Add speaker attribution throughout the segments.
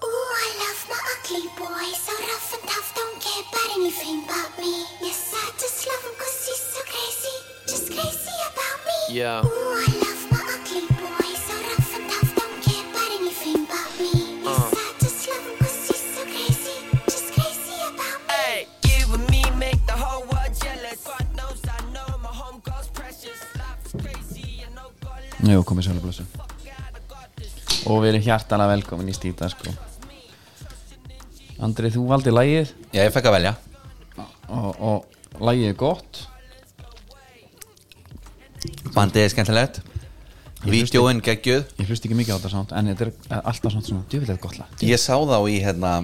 Speaker 1: Oh, rough and tough, don't care about anything but me. Yes, I just love him cause he's so crazy, just crazy about me.
Speaker 2: Yeah.
Speaker 1: Ooh, I love my ugly boy, so rough and tough, don't care about anything but me. Yes, I just love him cause he's so crazy, just crazy about me.
Speaker 3: Hey, you and me make the whole world jealous. God knows I know my home girl's precious. Life's crazy and no God left.
Speaker 4: Jú, komið sérlega blessu Og við erum hjartalega velkomin í stíta sko. Andri, þú valdi lægið
Speaker 5: Já, ég fekk að velja
Speaker 4: og, og lægið er gott
Speaker 5: Bandið er skemmtilegt Vídeóin geggjuð
Speaker 4: Ég hlust ekki mikið á þetta samt En þetta er eh, alltaf samt svona djöfilega gott lag
Speaker 5: Ég sá þá í hérna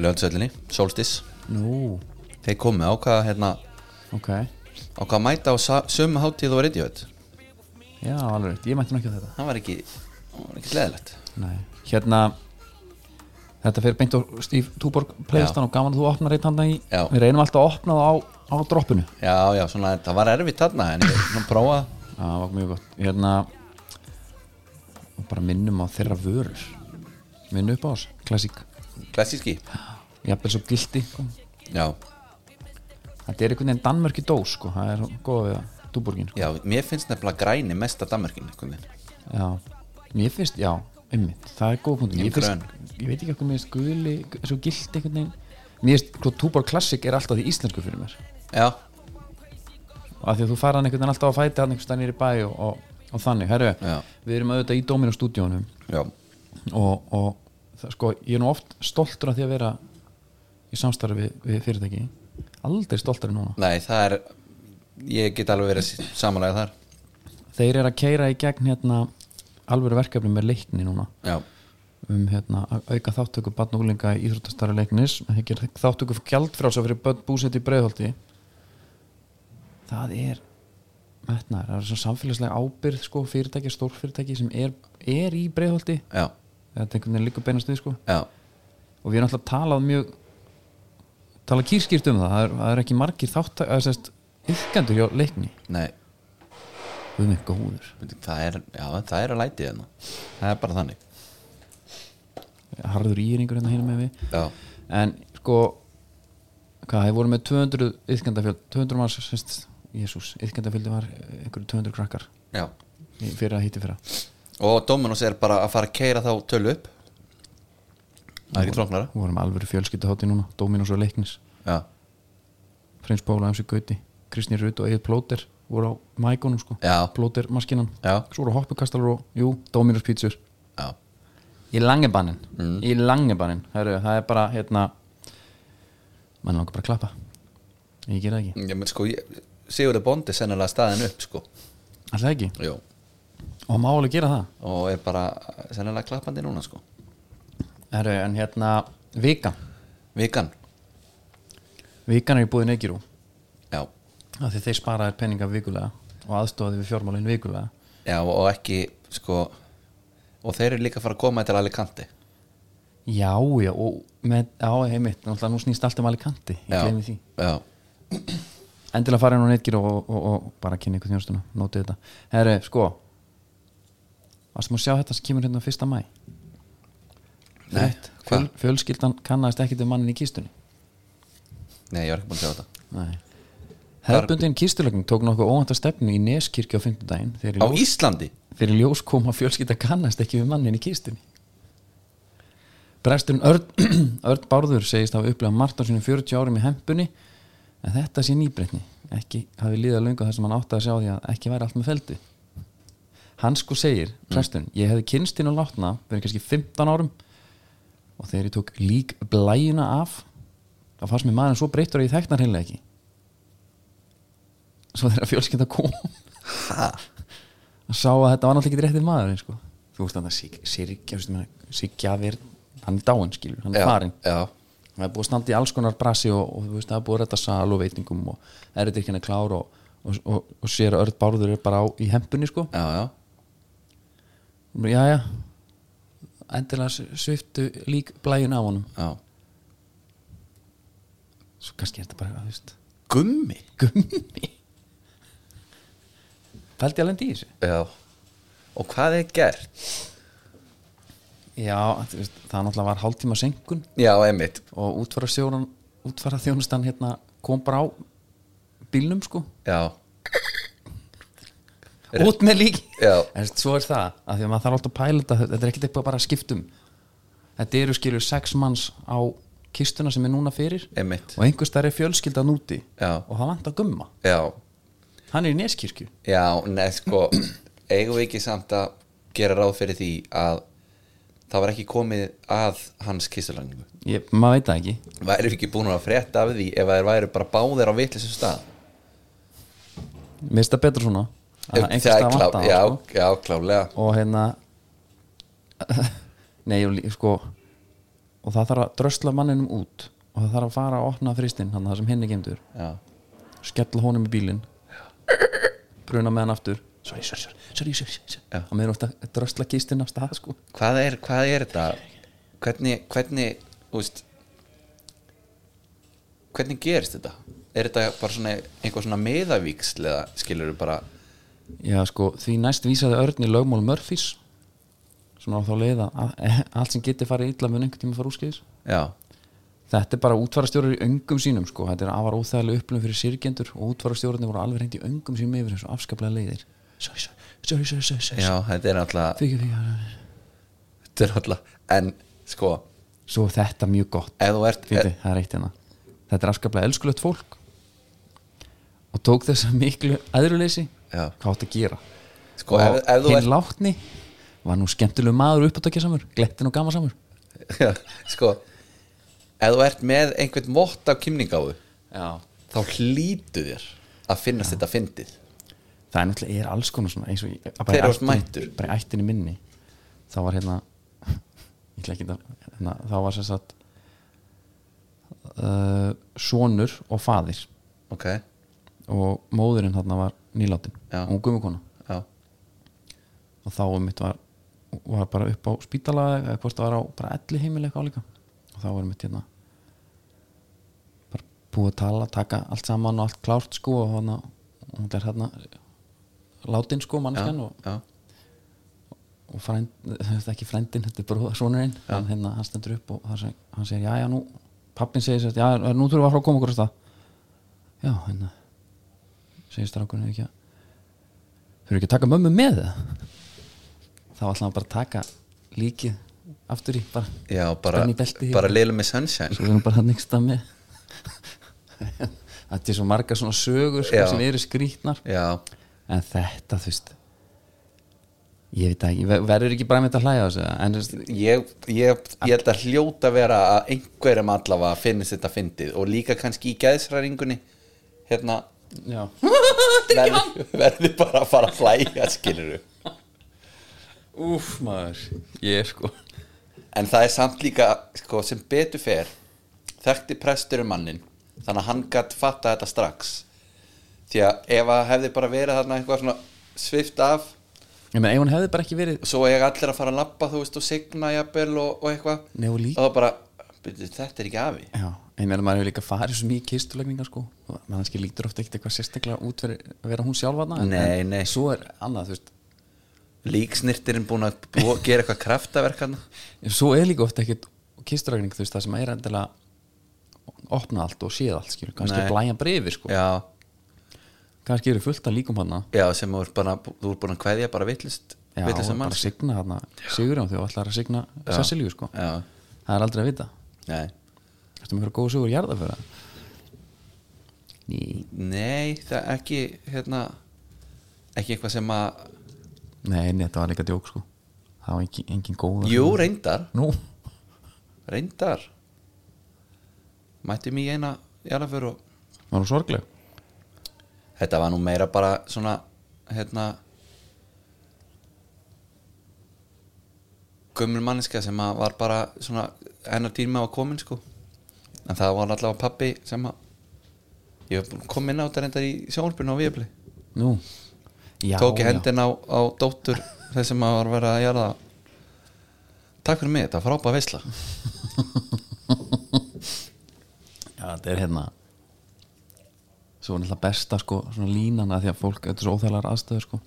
Speaker 5: Löndsöllinni, Solstis
Speaker 4: Nú,
Speaker 5: Þeir komu á hvað hérna
Speaker 4: ok
Speaker 5: á hvað mæta á sa- sömu hátíð og Radiohead
Speaker 4: Já, alveg rétt, ég mætti nú ekki á þetta
Speaker 5: Það var ekki, það var ekki sleðilegt
Speaker 4: Nei. Hérna Þetta fer beint á Steve Túborg Playlistan og gaman að þú opnar eitt handa í
Speaker 5: Já.
Speaker 4: Við reynum alltaf að opna það á, á droppinu
Speaker 5: Já, já, svona, það var erfitt þarna en ég svona prófa
Speaker 4: Já, það var mjög gott Hérna og bara minnum á þeirra vörur minn upp á oss, klassík
Speaker 5: klassíski
Speaker 4: jafnvel svo gildi sko.
Speaker 5: Já,
Speaker 4: þetta er einhvern veginn Danmörki dós sko. það er góða við það, dúborgin sko.
Speaker 5: já, mér finnst nefnilega græni mest að Danmarkin
Speaker 4: já, mér finnst, já, einmitt það er góða punktum,
Speaker 5: Ég
Speaker 4: ég, finnst, ég veit ekki hvað mér finnst guli, svo gildi einhvern veginn mér finnst, sko, túborg klassík er alltaf því íslensku fyrir mér
Speaker 5: Já,
Speaker 4: og að því að þú fara hann einhvern veginn alltaf á fæti hann einhvern stannir í bæ og, og, og þannig, herru
Speaker 5: Já.
Speaker 4: við erum auðvitað í dóminu stúdíónum
Speaker 5: já,
Speaker 4: og, og það, sko, ég er nú oft stoltur af því að vera í samstarfi við, við fyrirtæki aldrei stoltur en núna
Speaker 5: nei, það er ég get alveg verið samanlega þar
Speaker 4: þeir eru að keira í gegn hérna alvöru verkefni með leikni núna
Speaker 5: Já,
Speaker 4: um hérna, að auka þáttöku barn og úlinga í íþróttastarri leiknis það er þáttöku gjaldfrálsa fyrir börn búsett í breiðholti það er metnar, það er svo samfélagslega ábyrð sko, fyrirtæki, stórfyrirtæki sem er, er í breiðholti
Speaker 5: já,
Speaker 4: þetta er einhvern veginn líka beinast við sko
Speaker 5: já
Speaker 4: og við erum alltaf talað mjög talað kýrskýrt um það það er, það er ekki margir þáttöku það er sérst ykkendur hjá leikni
Speaker 5: Nei,
Speaker 4: við erum eitthvað húður
Speaker 5: það er, já, það er að læti þarna Það er bara þannig
Speaker 4: harður íringur hérna hérna með við
Speaker 5: Já,
Speaker 4: en sko hvað, þeir voru með 200 yðkendafjöld 200 manns, sérst, jésús yðkendafjöldi var eh, einhverju 200 krakkar
Speaker 5: já
Speaker 4: í fyrra hitti fyrra
Speaker 5: Og Dominos er bara að fara að keira þá tölu upp Það er ekki tróknara
Speaker 4: við vorum alveg fjölskyldahátti núna, Dominos og Leiknis
Speaker 5: Já,
Speaker 4: Prins Pála, MC Gauti, Kristnir Rut og Egil Plóter voru á mækunum sko
Speaker 5: Já.
Speaker 4: Plóter maskinan,
Speaker 5: Já.
Speaker 4: svo voru hoppukastalur og jú, Dominos pítsur
Speaker 5: já,
Speaker 4: í langibannin, mm. í langibannin Heru, það er bara, hérna mann langar bara að klappa ég gera það ekki,
Speaker 5: ég menn sko ég, Sigurður Bóndi er sennilega staðin upp sko
Speaker 4: alltaf ekki
Speaker 5: Jó
Speaker 4: og má alveg gera það
Speaker 5: Og er bara sennilega klappandi núna sko
Speaker 4: Heru, en hérna, vika
Speaker 5: Vikan,
Speaker 4: Vikan er í búið neykirú
Speaker 5: já
Speaker 4: af því þeir sparaðir peninga vikulega og aðstofaði við fjármálinn vikulega
Speaker 5: Já, og ekki sko Og þeir eru líka að fara að koma til Alicante
Speaker 4: Já, já, og með, á heimitt náttúrulega nú snýst allt um Alicante ég gleymi því
Speaker 5: já,
Speaker 4: Endilega fara inn á neykirú og, og, og bara kynna ykkur þjónstuna nótið þetta Herri, sko Varstum að sjá þetta sem kemur hérna 1. mæ
Speaker 5: Nei,
Speaker 4: Fjöl,
Speaker 5: hvað?
Speaker 4: Fjölskyldan kannaðist ekkit um mannin í kistunni
Speaker 5: Nei, ég var ekki búin að sjá þetta
Speaker 4: Nei Hefbundin kistulögn tók nokkuð óvænta stefnu í Neskirkja á 5. daginn þegar í
Speaker 5: Á
Speaker 4: ljós-
Speaker 5: Íslandi?
Speaker 4: fyrir ljós kom að fjölskylda kannast ekki við mannin í kistunni Bresturinn Örn, Örn Bárður segist hafa upplegað margt á sinni 40 árum í hempunni en þetta sé nýbreytni ekki hafi líða löngu þar sem hann átti að sjá því að ekki væri allt með feldi Hann sko segir, presturinn, ég hefði kynst hinn og látna verið kannski 15 árum og þegar ég tók lík blæjuna af þá fannst mér maðurinn svo breyttur að ég þekknar heimlega ekki Svo þegar fjölskylda kom að sá að þetta var náttúrulega ekki réttið maðurinn sko. Þú veist að það sirkja sirkja verð, hann er dáinn skilur hann er
Speaker 5: Já,
Speaker 4: farinn
Speaker 5: já,
Speaker 4: það er búið að standa í alls konar brasi og, og þú veist, það er búið að retta sal og veitingum og er þetta ekki henni klár og, og, og, og sér að Örn Bárður er bara á, í hempunni sko
Speaker 5: já, já
Speaker 4: já já endilega s- sviptu lík blæjun af honum
Speaker 5: Já,
Speaker 4: svo kannski er þetta bara þú veist,
Speaker 5: gummi
Speaker 4: gummi pældi alveg í þessu
Speaker 5: Já Og hvað er gert?
Speaker 4: Já, þú veist, það náttúrulega var hálftíma senkun
Speaker 5: Já, einmitt
Speaker 4: og útfarastjóran útfarastjónustan hérna kom bara á bílnum sko
Speaker 5: Já,
Speaker 4: út með lík
Speaker 5: Já.
Speaker 4: en þú veist, svo er það að því að maður þarf alltaf að pæla þetta þetta er ekkert eitthvað bara að skiptum þetta eru skilur sex manns á kistuna sem er núna fyrir
Speaker 5: Einmitt.
Speaker 4: og einhvers þar er fjölskyldan úti
Speaker 5: Já.
Speaker 4: og það vantar gumma
Speaker 5: já,
Speaker 4: hann er í neskirkju
Speaker 5: já, neð sko eigum við ekki samt að gera ráð fyrir því að það var ekki komið að hans kissulagningu
Speaker 4: Ég, maður veit það ekki
Speaker 5: væri við ekki búin að frétta af því ef þeir væri bara báðir á vitlisum stað
Speaker 4: mér finnst það betra svona að
Speaker 5: Ef-
Speaker 4: einhvers þar
Speaker 5: klá-
Speaker 4: vantar það,
Speaker 5: já,
Speaker 4: sko.
Speaker 5: já, klálega
Speaker 4: og hérna nei og lí- sko og það þarf að drösla manninum út og það þarf að fara að opna fristinn hann það sem henni gemdur,
Speaker 5: já.
Speaker 4: skella honum í bílinn bruna með hann aftur sorry, sorry, sorry, sorry, sorry, sorry.
Speaker 5: Já.
Speaker 4: og meður ofta að drösla kistinn af stað sko
Speaker 5: Hvað, er, hvað er þetta? Hvernig, hvernig, úst hvernig gerist þetta? Er þetta bara svona einhver svona meðavíksl eða skilur við bara
Speaker 4: já sko, því næst vísaði örn í lögmál Murphys sem á þá leið að að- allt sem geti farið illa mun einhvern tíma fara úrskeiðis
Speaker 5: já,
Speaker 4: þetta er bara útfarastjórar í öngum sínum sko. þetta er afar óþægilega upplum fyrir sirgendur og útfarastjórarnir voru alveg reynd í öngum sínum yfir þessu afskaplega leiðir sorry, sorry, sorry, sorry, sorry,
Speaker 5: já, þetta er náttúrulega
Speaker 4: sorry. Já.
Speaker 5: þetta er náttúrulega, en sko
Speaker 4: svo er þetta mjög gott
Speaker 5: ef þú ert,
Speaker 4: Fyndi, það er eitt hérna þetta er afskaplega elskulegt fólk og tók þess að miklu aðruleysi
Speaker 5: Já.
Speaker 4: hvað átt að gera
Speaker 5: Sko,
Speaker 4: og
Speaker 5: ef- ef þú
Speaker 4: hinn
Speaker 5: ert-
Speaker 4: látni var nú skemmtilegu maður uppátækja samur glettin og gama samur
Speaker 5: Já, sko ef þú ert með einhvern vott af kynningáfu
Speaker 4: já.
Speaker 5: þá hlýtu þér að finnast þetta fyndið
Speaker 4: það er náttúrulega er alls konar svona eins og ég, bara, í
Speaker 5: Þegar þú ert
Speaker 4: ættinni-
Speaker 5: mættur.
Speaker 4: bara í ættinni minni þá var hérna ég ætla ekki að hérna, þá var sem sagt uh, sonur og faðir
Speaker 5: ok,
Speaker 4: og móðurinn þarna var nýlátin
Speaker 5: Já.
Speaker 4: og gummikona
Speaker 5: já,
Speaker 4: og þá um mitt var, var bara upp á spítala eða hvort það var á bara elli heimil eitthvað álíka og þá var mitt hérna bara búið að tala, taka allt saman og allt klárt sko og hérna hún er hérna látin sko mannskjan og
Speaker 5: já,
Speaker 4: og frænd, þetta er ekki frændin þetta er bara sonurinn, hann, hérna, hann stendur upp og hann segir, hann segir já, já, nú pappin segir sér, já, nú þurfum við að fara að koma okkur af stað já, hérna segir strákunni ekki að þurfum ekki að taka mömmu með það þá ætlaði hann bara að taka líkið aftur í bara,
Speaker 5: já bara,
Speaker 4: Spenni beltið í-
Speaker 5: bara leilum með sunshine
Speaker 4: svo við erum bara að nýsta með þetta er svo margar svona sögur sko,
Speaker 5: Já.
Speaker 4: sem eru skrýtnar
Speaker 5: já,
Speaker 4: en þetta, þú veist ég veit það ekki, ver- verður ekki bara með þetta að hlæja á þessu en þú veist,
Speaker 5: ég, ég, ég held að hljóta vera að einhverjum allavega finnist þetta fyndið og líka kannski í gæðsræringunni hérna
Speaker 4: Já,
Speaker 5: verði, verði bara að fara að hlæja skilur
Speaker 4: úf maður Ég er sko
Speaker 5: en það er samt líka sko, sem betur fer þekkti presturum mannin þannig að hann gætt fatta þetta strax því að ef að hefði bara verið þarna eitthvað svona svift af
Speaker 4: Ég meina, ef hún hefði bara ekki verið
Speaker 5: svo eiga allir að fara að labba þú veist og signa jafnvel og, og eitthvað
Speaker 4: Nei, og líka-
Speaker 5: þá bara, "Bíddu, þetta er ekki afi
Speaker 4: Já, ég meina maður hefur líka farið svo mikið kistulegningar sko Mannski lítur ofta ekkert eitthvað sérstaklega út fyrir að vera hún sjálfanna
Speaker 5: Nei, nei.
Speaker 4: Svo er annað, þú veist
Speaker 5: líksnirtirinn búin að bú- gera eitthvað kraftaverk hann
Speaker 4: Svo er líka ofta ekkert kistulegning, þú veist, það sem er endilega opna allt og séð allt, skilur Kannski
Speaker 5: Nei.
Speaker 4: er blæja breyfi, sko
Speaker 5: já,
Speaker 4: Kannski eru fullt að líkum hana
Speaker 5: já, sem þú er, bara, þú er búin að kveðja bara vitlist
Speaker 4: Já,
Speaker 5: vitlist
Speaker 4: og bara
Speaker 5: mann
Speaker 4: signa hana Sigurjón, þú ætlar að signa Cecilíu, sko
Speaker 5: já,
Speaker 4: Það er aldrei að vita
Speaker 5: nei
Speaker 4: Ertu með eitthvað góð sögur jarðaföra? Ný
Speaker 5: Nei, það er ekki hérna, ekki eitthvað sem að
Speaker 4: Nei, nei, þetta var líka djók sko Það var engin, engin góð
Speaker 5: Jú, reyndar,
Speaker 4: Nú,
Speaker 5: reyndar Mættum í eina jarðaför og
Speaker 4: var hún sorgleg
Speaker 5: þetta var nú meira bara svona hérna gömul manneska sem að var bara svona hennar tíma var komin sko en það var allavega pappi sem að ég var búinn að koma inn á þetta reyndar í sjónvarpinu á Viðabli
Speaker 4: Nú já,
Speaker 5: tók ég
Speaker 4: já.
Speaker 5: hendin á, á dóttur þessum að var verið að gera takk fyrir mig, þetta var frábæð veisla
Speaker 4: Já, þetta er hérna Svo er náttúrulega besta sko Svona línan að því að fólk Þetta er svo óþælar aðstöður sko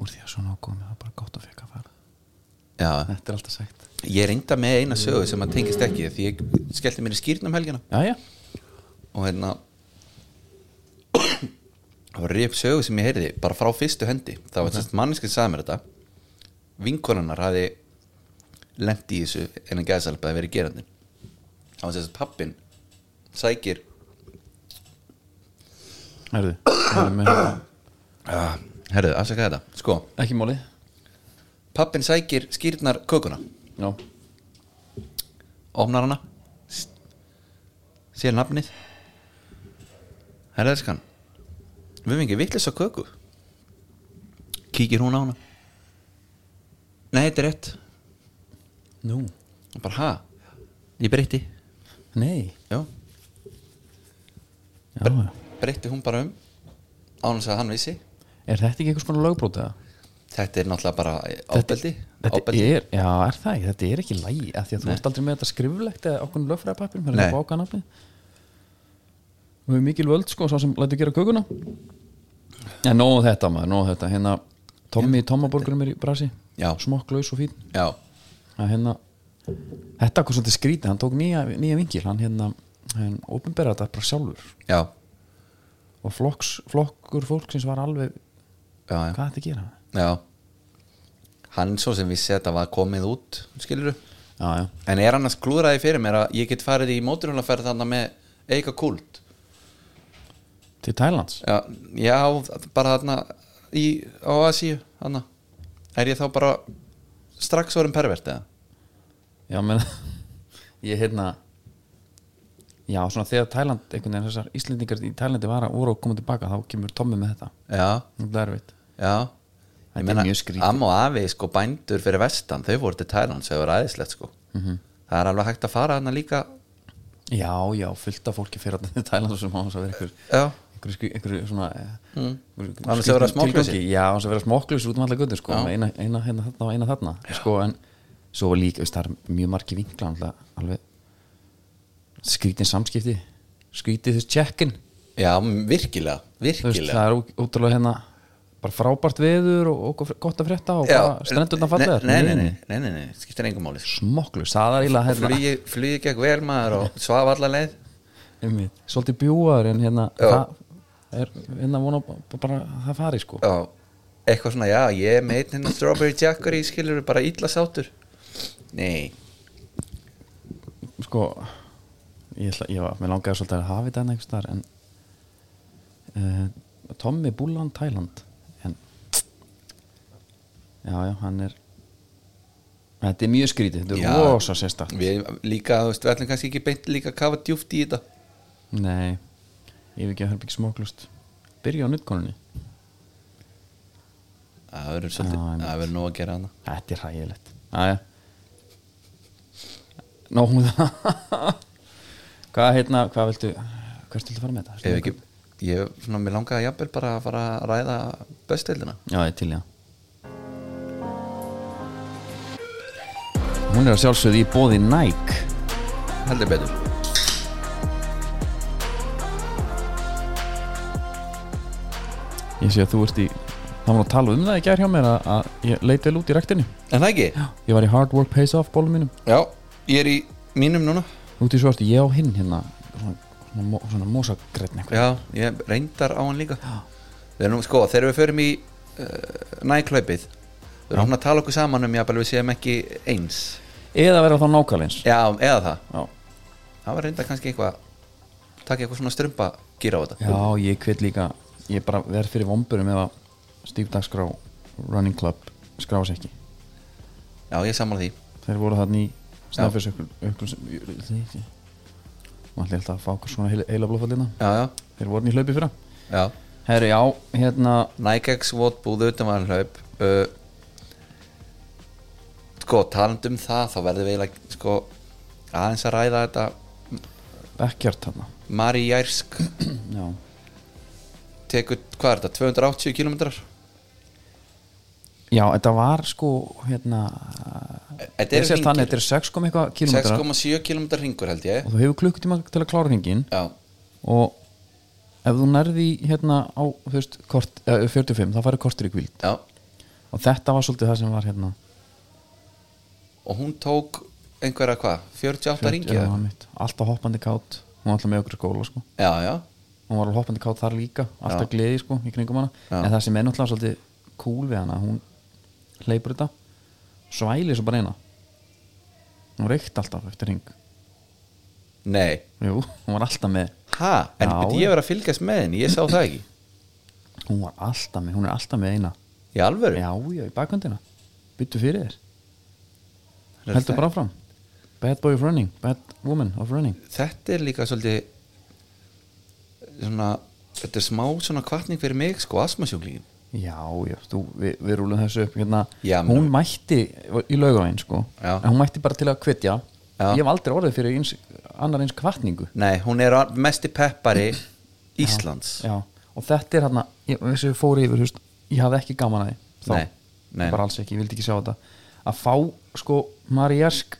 Speaker 4: Úr því að svona ágóðum Það var bara gott að fekk að fara
Speaker 5: já,
Speaker 4: Þetta er alltaf sagt
Speaker 5: Ég reynda með eina sögu sem að tengist ekki því ég skellti mér í skýrnum helgina
Speaker 4: Jæja,
Speaker 5: og hérna það var reyf sögu sem ég heyrði bara frá fyrstu hendi það var okay. manneskið sem sagði mér þetta vinkonunnar hafi lent í þessu innan gæðsalpa að vera gerandin það var sérst að pappin sækir
Speaker 4: herðu herðu með-
Speaker 5: ah, herðu, afsaka þetta sko,
Speaker 4: Ekki málið
Speaker 5: pappin sækir skýrnar kökuna
Speaker 4: Já,
Speaker 5: opnar hana s- sér nafnið herðu elskan við erum ekki vitlis á köku kíkir hún á hana nei, þetta er rétt
Speaker 4: nú,
Speaker 5: og bara ha, ég breytti
Speaker 4: nei
Speaker 5: já,
Speaker 4: Já, já
Speaker 5: breytti hún bara um án þess að hann vissi
Speaker 4: Er þetta ekki einhvers konar lögbróta?
Speaker 5: þetta er náttúrulega bara eh,
Speaker 4: Þetta-
Speaker 5: ábeldi
Speaker 4: Þetta
Speaker 5: ábeldi.
Speaker 4: er, já, er það ekki, þetta er ekki lægi af því að þú ert aldrei með þetta skriflegt eða okkur lögfræðapappir, mér er
Speaker 5: Nei.
Speaker 4: það bóka nafni Við erum mikil völd sko, svo sem lætur gera kökuna En nóg um þetta maður, nóg um þetta hérna, Tommy í Tommaborgurum er í brasi
Speaker 5: Já.
Speaker 4: smokkklaus og fín
Speaker 5: já,
Speaker 4: að hérna þetta er hvað svolítið skrítið, hann tók nýja, nýja vingil hann hérna, hann opinberða þetta bara sjálfur
Speaker 5: já,
Speaker 4: og flokks, flokkur fólksins var alveg
Speaker 5: já, já.
Speaker 4: hvað þetta gera
Speaker 5: já hann svo sem vissi að þetta var komið út skilur
Speaker 4: já, já,
Speaker 5: en er annars klúðraði fyrir mér að ég get farið í móturhjólaferð þarna með eiga kult
Speaker 4: til Thailands
Speaker 5: já, já bara þarna í, á Asíu þarna. er ég þá bara strax orðin pervert eða?
Speaker 4: já, menn ég hérna já, svona þegar Thailand, einhvern veginn þessar Íslendingar í Thailandi var að voru að koma tilbaka þá kemur Tommy með þetta,
Speaker 5: já,
Speaker 4: þetta er erfitt
Speaker 5: Já
Speaker 4: Þetta
Speaker 5: Ég
Speaker 4: er
Speaker 5: meina,
Speaker 4: mjög skrítið.
Speaker 5: amma og afi sko bændur fyrir vestan þau voru til Thailand, þau voru aðeinslegt sko það er alveg hægt að fara hana líka
Speaker 4: já, já, fullt af fólki fyrir að Thailand sem á hans að vera einhver
Speaker 5: já,
Speaker 4: einhverju skrý- einhverju svona mm.
Speaker 5: Annars að vera smokklausi.
Speaker 4: já, annars að vera smokklausi út um alla göttur sko. eina, eina hérna þarna og eina þarna sko, en svo var líka, veist, það er mjög margi vinkla alveg, alveg skrítin samskipti skrítið þess tjekkin
Speaker 5: já, virkilega
Speaker 4: veist,
Speaker 5: virkilega
Speaker 4: það er ó- ótrúlega hérna bara frábært veður og, og gott að frétta og bara strendurna falla
Speaker 5: nei, nei, nei, nei, nei, nei, skiptir engum máli sko.
Speaker 4: smokklis, það er íla hérna,
Speaker 5: flugi, flugi gekk vel maður og svaf alla leið
Speaker 4: einmitt, svolítið bjúaður en hérna
Speaker 5: Já.
Speaker 4: það er hérna vona b- bara að það fari sko
Speaker 5: já, eitthvað svona, já, ég meit hérna strawberry jackery, skilur bara illa sátur nei,
Speaker 4: sko ég, ætla, ég var, mér langaði svolítið að hafa þetta hérna einhvers þar en uh, Tommy Bullan Thailand en já, já, hann er þetta er mjög skrítið, þetta
Speaker 5: Já.
Speaker 4: er rosa sérstakt
Speaker 5: við líka, þú veist, við ætlum kannski ekki beint líka að kafa djúft í þetta
Speaker 4: nei, ég hef ekki að herpa ekki smoklust byrja á nuttkonunni,
Speaker 5: það verður
Speaker 4: Já,
Speaker 5: svolítið,
Speaker 4: einmitt.
Speaker 5: það verður nóg að gera hana
Speaker 4: þetta er hræðilegt aðja Nó, hún það Hvað heitna, hvað viltu Hvert viltu fara með þetta?
Speaker 5: Ef ekki, ég, svona, mér langaði jafnvel bara að fara að ræða bestildina
Speaker 4: Já, ég er til já Hún er að sjálfsögðu í bóði Nike
Speaker 5: Heldur betur
Speaker 4: Ég sé að þú ert í Það var nú að tala um það í gær hjá mér að, að ég leiti vel út í rektinni
Speaker 5: En það ekki?
Speaker 4: Ég var í Hard Work Pays Off bólum mínum
Speaker 5: Já, ég er í mínum núna
Speaker 4: Út í svörtu, ég á hinn hérna Svona, svona, mo- svona mosagreitn eitthvað
Speaker 5: Já, ég reyndar á hann líka Við erum, sko, þegar við förum í uh, næklaupið Við erum hún að tala okkur saman um jafnvel við séum ekki eins
Speaker 4: Eða vera þá nákvæmleins
Speaker 5: Já, eða það
Speaker 4: Já,
Speaker 5: Það var reyndar kannski eitthvað Takk eitthvað svona strömba gýra á þetta
Speaker 4: Já, ég kveit líka Ég bara verð fyrir vomburum ef að Steve Dagskrá Running Club skrás ekki
Speaker 5: Já, ég sammála því
Speaker 4: Þeir voru þarna í snæfisökul Má ætli alltaf að fá okkur svona heila, heila blófallina
Speaker 5: Já, já,
Speaker 4: Þeir voru í hlaupi fyrra
Speaker 5: já
Speaker 4: Herru, já, hérna
Speaker 5: Nike X Watt búðu utanvarnhlaup uh, sko talandi um það þá verðum við eiginlega, sko, aðeins að ræða þetta
Speaker 4: Bekkjart þarna
Speaker 5: Mari Jærsk
Speaker 4: Já,
Speaker 5: tekur, hvað er þetta, 280 km
Speaker 4: já þetta var sko hérna
Speaker 5: þetta
Speaker 4: Þetta
Speaker 5: er
Speaker 4: er þannig, þetta
Speaker 5: hringir
Speaker 4: er 6,1 eitthvað kilometra
Speaker 5: 6,7 km ringur held ég
Speaker 4: og þú hefur klukkutíma til að klára hringin
Speaker 5: já,
Speaker 4: og ef þú nærði hérna á þú veist, kort, eh, 45 þá farið kortur í kvíld
Speaker 5: já,
Speaker 4: og þetta var svolítið það sem var hérna
Speaker 5: og hún tók einhverja hvað, 48 ringi
Speaker 4: Já, einmitt. alltaf hoppandi kátt hún var alltaf með okkur í skóla sko
Speaker 5: já, já,
Speaker 4: hún var alveg hoppandi kátt þar líka alltaf
Speaker 5: Já.
Speaker 4: gleði sko í kringum hana
Speaker 5: Já.
Speaker 4: en það sem er náttúrulega svolítið cool við hana hún hleypur þetta svæli svo bara eina hún reykt alltaf eftir ring
Speaker 5: nei
Speaker 4: Jú, hún var alltaf með
Speaker 5: ha, en
Speaker 4: Já,
Speaker 5: byrja
Speaker 4: já.
Speaker 5: ég verið að fylgjast með henni, ég sá það ekki
Speaker 4: hún var alltaf með, hún er alltaf með eina
Speaker 5: í alvöru
Speaker 4: já, já, í bakkvöndina byttu fyrir þér,
Speaker 5: Það er
Speaker 4: heldur
Speaker 5: það-
Speaker 4: bara áfram bad boy of running, bad woman of running
Speaker 5: þetta er líka svolítið svona þetta er smá svona kvartning fyrir mig sko, asmasjúklingin
Speaker 4: já, já, þú, við, við rúlum þessu upp hérna,
Speaker 5: Já, menn-
Speaker 4: hún mætti í laugavegin sko,
Speaker 5: Já.
Speaker 4: en hún mætti bara til að hvetja
Speaker 5: Já.
Speaker 4: ég hef aldrei orðið fyrir eins, annar eins kvartningu
Speaker 5: nei, hún er a- mesti peppari Íslands
Speaker 4: já, og þetta er hérna ég, þessi við fóru yfir, húst, ég hafði ekki gaman að því
Speaker 5: Nei, nei.
Speaker 4: bara alls ekki, ég vildi ekki sjá þetta að fá, sko, Mariask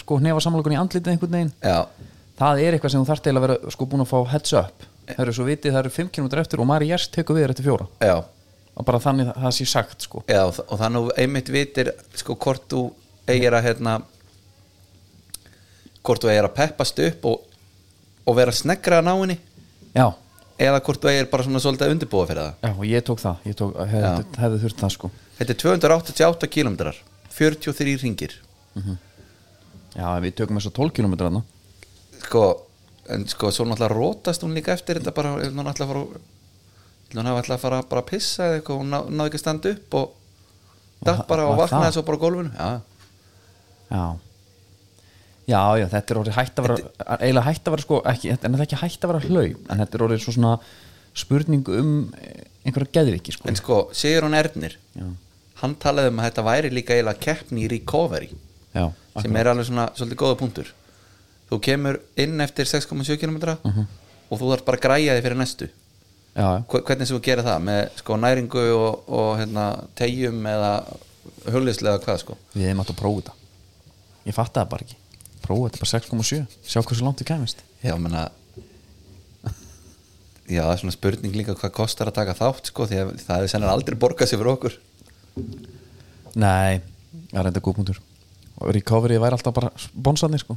Speaker 4: sko, hnefa samlokunni í andlitið einhvern veginn
Speaker 5: já,
Speaker 4: það er eitthvað sem þú þarft til að vera sko búin að fá heads up það eru svo vitið, það eru 5 km eftir og Mari Jærs tekur við þér eftir fjóra
Speaker 5: já,
Speaker 4: og bara þannig það, það sé sagt sko
Speaker 5: já og þa- og þannig að þú einmitt vitir sko hvort þú eigir að hérna hvort þú eigir að peppast upp og, og vera sneggra að ná henni
Speaker 4: já,
Speaker 5: eða hvort þú eigir bara svona svolítið að undirbúa fyrir það
Speaker 4: já og ég tók það ég tók, hef,
Speaker 5: Já.
Speaker 4: hefði þurft það sko
Speaker 5: þetta er 288 kilometrar 43 ringir
Speaker 4: já, við tökum þess að 12 km þarna
Speaker 5: sko, en sko, svo náttúrulega rótast hún líka eftir þetta bara, ef hún ætla að fara ef hún hafa ætla að fara bara að pissa eða eitthvað, hún ná, náði ekki að standa upp og datt bara og
Speaker 4: var
Speaker 5: vaknaði
Speaker 4: það?
Speaker 5: svo bara á gólfinu já,
Speaker 4: já já, já, þetta er orðið hætt að vera eiginlega hætt að vera sko, ekki, þetta- en þetta er ekki hætt að vera hlaup en þetta er orðið svo svona spurning um eh, einhverja geðviki sko
Speaker 5: en sko, segir hún Ernir
Speaker 4: já,
Speaker 5: hann talaði um að þetta væri líka eiginlega keppni í recovery,
Speaker 4: já,
Speaker 5: sem er alveg svona svolítið góða punktur þú kemur inn eftir 6,7 km
Speaker 4: Mhm.
Speaker 5: og þú þarf bara að græja þig fyrir næstu
Speaker 4: já, já,
Speaker 5: Hve- hvernig sem þú gerir það, með sko næringu og, og hérna, tegjum eða hullislega hvað sko
Speaker 4: við hefum átt að prófa þetta ég fatt það bara ekki prófa þetta bara 6,7, sjá hversu langt við kæmist
Speaker 5: Já, menna Já, það er svona spurning líka hvað kostar að taka þátt sko, því að það er sennan aldrei borgað sér fyrir okkur
Speaker 4: nei, það er enda góðbúndur og recovery væri alltaf bara bonsarnir sko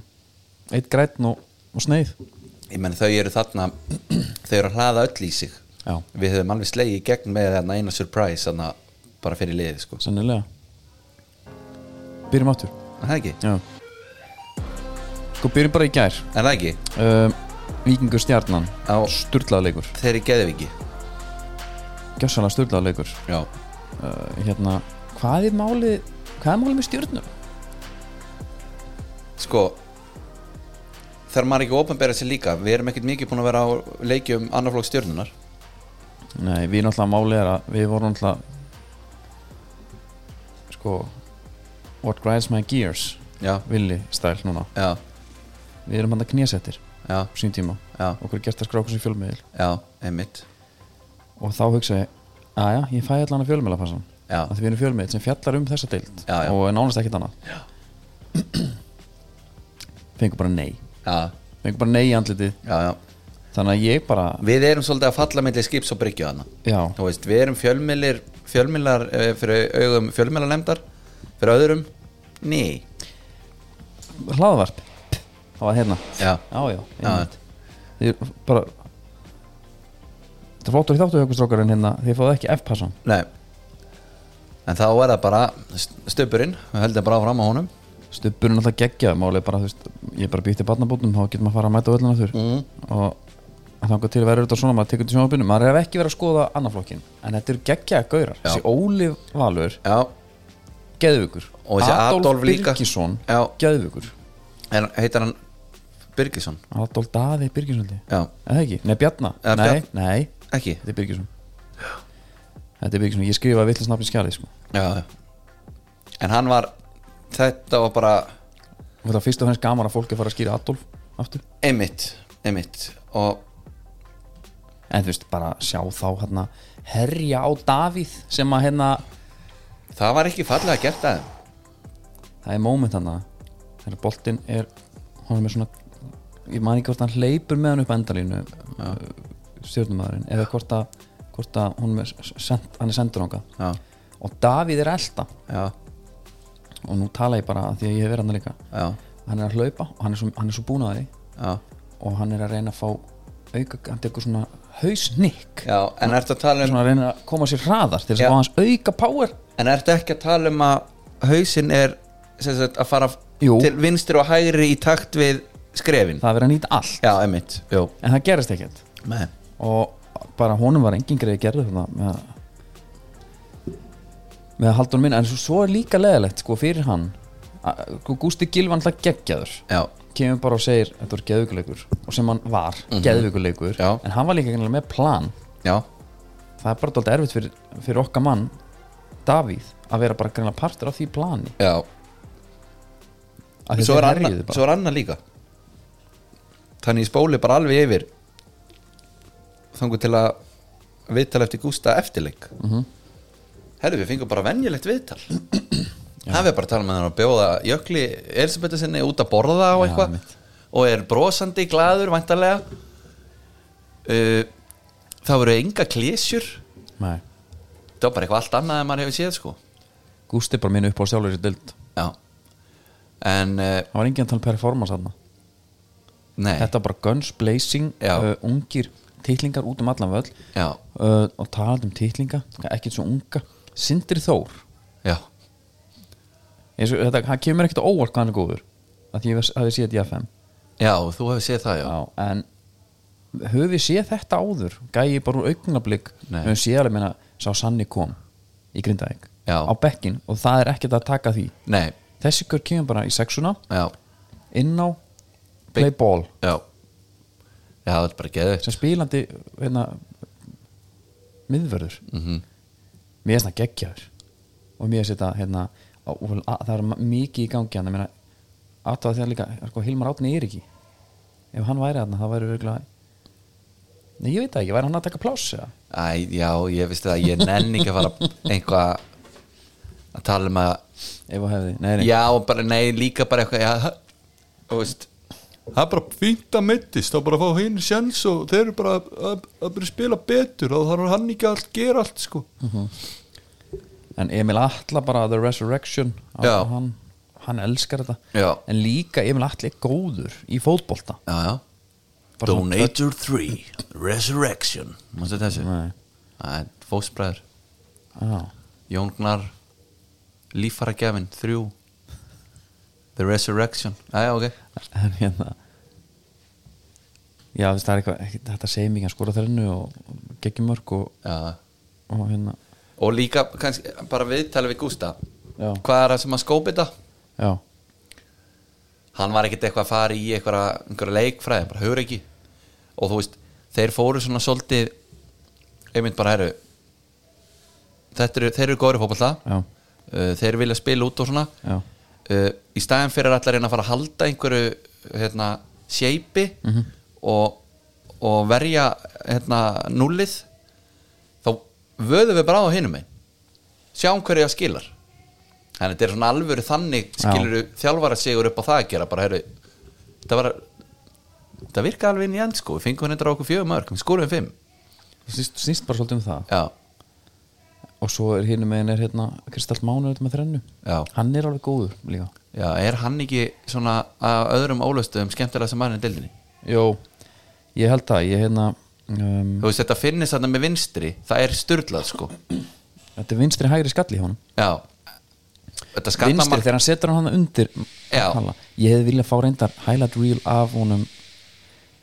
Speaker 4: eitt grætn og, og sneið
Speaker 5: Ég menn þau eru þarna þau eru að hlaða öll í sig
Speaker 4: Já.
Speaker 5: Við höfum alveg slegið í gegn með þarna eina surprise þarna bara fyrir liðið sko
Speaker 4: sannilega byrjum áttur
Speaker 5: Er það ekki?
Speaker 4: Já. sko byrjum bara í gær
Speaker 5: Er það ekki?
Speaker 4: um, Víkingur stjarnan
Speaker 5: Á
Speaker 4: sturlaðleikur,
Speaker 5: þeir í geðviki
Speaker 4: gjössalega sturlaðleikur
Speaker 5: Já
Speaker 4: uh, hérna, hvað er málið hvað er málið með stjörnum?
Speaker 5: Sko Þar maður ekki ofanberið sér líka Við erum ekkert mikið búin að vera á um leikjum annarflokk stjörnunar
Speaker 4: Nei, við náttúrulega málið er að við vorum náttúrulega sko what grinds my gears
Speaker 5: Já,
Speaker 4: villi stæl núna
Speaker 5: já,
Speaker 4: við erum hann að knésettir
Speaker 5: já,
Speaker 4: á sín tíma
Speaker 5: Já.
Speaker 4: okkur er gert að skráka sér fjölmiðil
Speaker 5: já, einmitt
Speaker 4: og þá hugsa ég, aðja, ég fæ allan að fjölmiðla passan
Speaker 5: Já.
Speaker 4: að því við erum fjölmiðil sem fjallar um þessa deild
Speaker 5: Já, já.
Speaker 4: og er nánast ekkert annað já. fengur bara nei
Speaker 5: Já,
Speaker 4: fengur bara nei í andlitið
Speaker 5: já, já
Speaker 4: þannig að ég bara,
Speaker 5: Við erum svolítið að falla mellir skips og bryggju hana
Speaker 4: já,
Speaker 5: Þú veist, við erum fjölmiðlir fjölmiðlar eh, fyrir augum fjölmiðlarnemdar fyrir öðrum Ný,
Speaker 4: hlaðvarp það var hérna
Speaker 5: já,
Speaker 4: já, já,
Speaker 5: já,
Speaker 4: einmitt. Þið er bara Þetta er flottur í þáttu hjá ykkur strókar en hérna Þið fáðu ekki F-passan
Speaker 5: nei En þá er það bara st- stöpurinn við höldum bara áfram á honum
Speaker 4: Stubburinn alltaf geggjaði máli bara, þú veist, Ég er bara býtt í barnabótum Þá getur maður að fara að mæta öllina þurr mm.
Speaker 5: Mhm.
Speaker 4: Og þannig til að vera auðvitað svona Maður tekur til sjónabinu Maður er ekki verið að skoða annar flokkin En þetta eru geggjaði gaurar Þessi Óli Valur,
Speaker 5: Já,
Speaker 4: geðvökur
Speaker 5: Og þessi Adolf líka.
Speaker 4: Birgisson,
Speaker 5: Já.
Speaker 4: geðvökur
Speaker 5: en heitar hann Birgisson
Speaker 4: Adolf Daði Birgisson held ég.
Speaker 5: Já,
Speaker 4: Er það ekki? Nei, Bjarna
Speaker 5: Ja,
Speaker 4: Nei,
Speaker 5: Bjarn-
Speaker 4: nei,
Speaker 5: ekki
Speaker 4: þetta er Birgisson Þetta er Birgisson, ég skrifa vitlisnafn í skjalið sko.
Speaker 5: Já, já. en hann var þetta var bara
Speaker 4: Og Það er fyrst og fremst gaman að fólk er að fara að skýra Adolf aftur
Speaker 5: einmitt, einmitt og
Speaker 4: En þú veist, bara sjá þá hérna herja á Davíð sem að hérna
Speaker 5: það var ekki fallega gert aðeim
Speaker 4: það er moment hérna þegar boltinn er honum er svona ég man ekki hvort hann hleypur með hann upp endalínu ja. stjórnumæðurinn eða hvort að, hvort að honum er send, hann er sendur ánga
Speaker 5: Já,
Speaker 4: og Davíð er elda
Speaker 5: já,
Speaker 4: og nú tala ég bara af því að ég hef verið hann líka
Speaker 5: já,
Speaker 4: hann er að hlaupa og hann er svo, hann er svo búin að því
Speaker 5: já,
Speaker 4: og hann er að reyna að fá auka, hann tekur svona hausnikk
Speaker 5: já en ertu að tala um
Speaker 4: svona að reyna að koma sér hraðar til þess
Speaker 5: Já.
Speaker 4: að fá hans auka power
Speaker 5: en ertu ekki að tala um að hausinn er sem sagt, að fara
Speaker 4: Jú.
Speaker 5: til vinstri og hægri í takt við skrefin
Speaker 4: það er verið að nýta allt
Speaker 5: já, einmitt, jú
Speaker 4: en það gerist ekkert
Speaker 5: Nei.
Speaker 4: og bara honum var engin greið gerðu þarna með að með að halda honum inn en svo, svo er líka leðilegt sko fyrir hann að- sko, Gústi Gilvan alltaf geggjaður
Speaker 5: já,
Speaker 4: kemur bara og segir þetta var geðvikuleikur og sem hann var mm geðvikuleikur
Speaker 5: Mhm. Já.
Speaker 4: en hann var líka greinilega með plan
Speaker 5: já,
Speaker 4: það er bara dálítið erfitt fyrir, fyrir okkar mann Davíð að vera bara greinlega partur af því plani
Speaker 5: já
Speaker 4: Af því
Speaker 5: svo
Speaker 4: þeir
Speaker 5: er,
Speaker 4: herjuðu
Speaker 5: anna,
Speaker 4: bara.
Speaker 5: svo er annað líka þannig ég spóli bara alveg yfir þangur til að viðtal eftir Gústa eftirleik mm
Speaker 4: Mhm.
Speaker 5: -hmm. herru við fengum bara venjulegt viðtal það við bara tala með hann að bjóða Jökli Elisabethu sinni út að borða og
Speaker 4: Já,
Speaker 5: eitthvað
Speaker 4: einmitt.
Speaker 5: og er brosandi glaður væntalega uh, það voru enga klésjur
Speaker 4: Nei.
Speaker 5: það var bara eitthvað allt annað en maður hefur séð sko
Speaker 4: Gústi er bara minn upp á sjálfur í dild
Speaker 5: já en uh,
Speaker 4: það var enginn að tala um performance þarna
Speaker 5: nei
Speaker 4: þetta var bara guns blazing
Speaker 5: Já.
Speaker 4: uh, ungir titlingar út um allan völl
Speaker 5: já,
Speaker 4: uh, og talað um titlinga ekkert svo unga Sindri Þór
Speaker 5: já,
Speaker 4: eins og þetta hann kemur ekkert á óvart hvað hann er góður að því ég vers- hafi séð þetta í FM
Speaker 5: já þú hefur séð það já
Speaker 4: Já, en höfum við séð þetta áður gæði bara úr augnablík
Speaker 5: Nei.
Speaker 4: höfum séð alveg meina sá Sanni kom í Grindavík
Speaker 5: Já.
Speaker 4: á bekkin og það er ekkert að taka því
Speaker 5: Nei,
Speaker 4: þessi kör kemur bara í sexuna
Speaker 5: já,
Speaker 4: inn á play ball
Speaker 5: já Já, þetta er bara geðið
Speaker 4: sem spilandi hérna, miðvörður mm -hmm. mér er svona geggjaður og mér er þetta hérna, á- og að- það er ma- mikið í gangi hérna. hann aðtöða þegar líka sko, Hilmar Átni er ekki ef hann væri hann það væri virkulega Nei, ég veit það ekki, væri hann að taka pláss eða?
Speaker 5: Æ, já, ég veist það, ég nenni ekki að fara einhvað að tala um að
Speaker 4: ef að hefði, nei, nei,
Speaker 5: Já, bara, nei, líka bara eitthvað Já, þú veist Það er bara fínt að mittist, þá bara fá hinn sjans og þeir eru bara að, að, að byrja að spila betur og þá þarf hann ekki að gera allt sko
Speaker 4: en Emil Atla bara The Resurrection á-
Speaker 5: Já.
Speaker 4: hann, hann elskar þetta
Speaker 5: Já.
Speaker 4: en líka Emil Atli er góður í fótbolta
Speaker 5: Já, já
Speaker 4: Bara svona-
Speaker 5: Donator 3 Resurrection Mástu þessu?
Speaker 4: Nei.
Speaker 5: Það er fósbræður
Speaker 4: Já.
Speaker 5: Jóngnar Lífaragjafin, þrjú The Resurrection Æja, ok
Speaker 4: en hérna já þú veist það er eitthvað ekki- þetta segir mikið að skora þrennu og geggjum mörg og,
Speaker 5: Já.
Speaker 4: og hérna
Speaker 5: Og líka, kannski, bara viðtalið við Gústa
Speaker 4: Já.
Speaker 5: Hvað er það sem að skópi þetta?
Speaker 4: já,
Speaker 5: Hann var ekkert eitthvað að fara í einhverja, einhverja leikfræði, bara hugur ekki Og þú veist, þeir fóru svona svolítið Einmitt bara, herru Þetta eru, þeir eru góður fótbolta
Speaker 4: já,
Speaker 5: uh, Þeir vilja spila út og svona
Speaker 4: já,
Speaker 5: uh, í staðin fyrir allar reyna að fara að halda einhverju hérna, seipi
Speaker 4: Mhm.
Speaker 5: og, og verja hérna, nullið þá vöðum við bara á hinum einn sjáum um hverju það skilar þannig þetta er svona alvöru þannig skilur þjálfara sigur upp á það að gera bara heyrðu það var það virkaði alveg inn í end sko við fengum henni á okkur fjögum mörg, við skóluðum fimm
Speaker 4: snýst, snýst bara svolítið um það
Speaker 5: já,
Speaker 4: og svo er hérna megin er hérna Kristall Mánu með þrennu,
Speaker 5: Já.
Speaker 4: hann er alveg góður líka,
Speaker 5: já, er hann ekki svona að öðrum ólöstuðum skemmtilega sem mann í dildinni
Speaker 4: jú ég held það, ég hérna um,
Speaker 5: þú veist þetta finnist þarna með vinstri það er styrlað sko
Speaker 4: þetta er vinstri hægri skalli hjá honum
Speaker 5: Já Þetta
Speaker 4: vinstri
Speaker 5: skattamark
Speaker 4: þegar hann setur hann undir
Speaker 5: Já.
Speaker 4: Halla. ég hefði viljað fá reyndar highlight reel af honum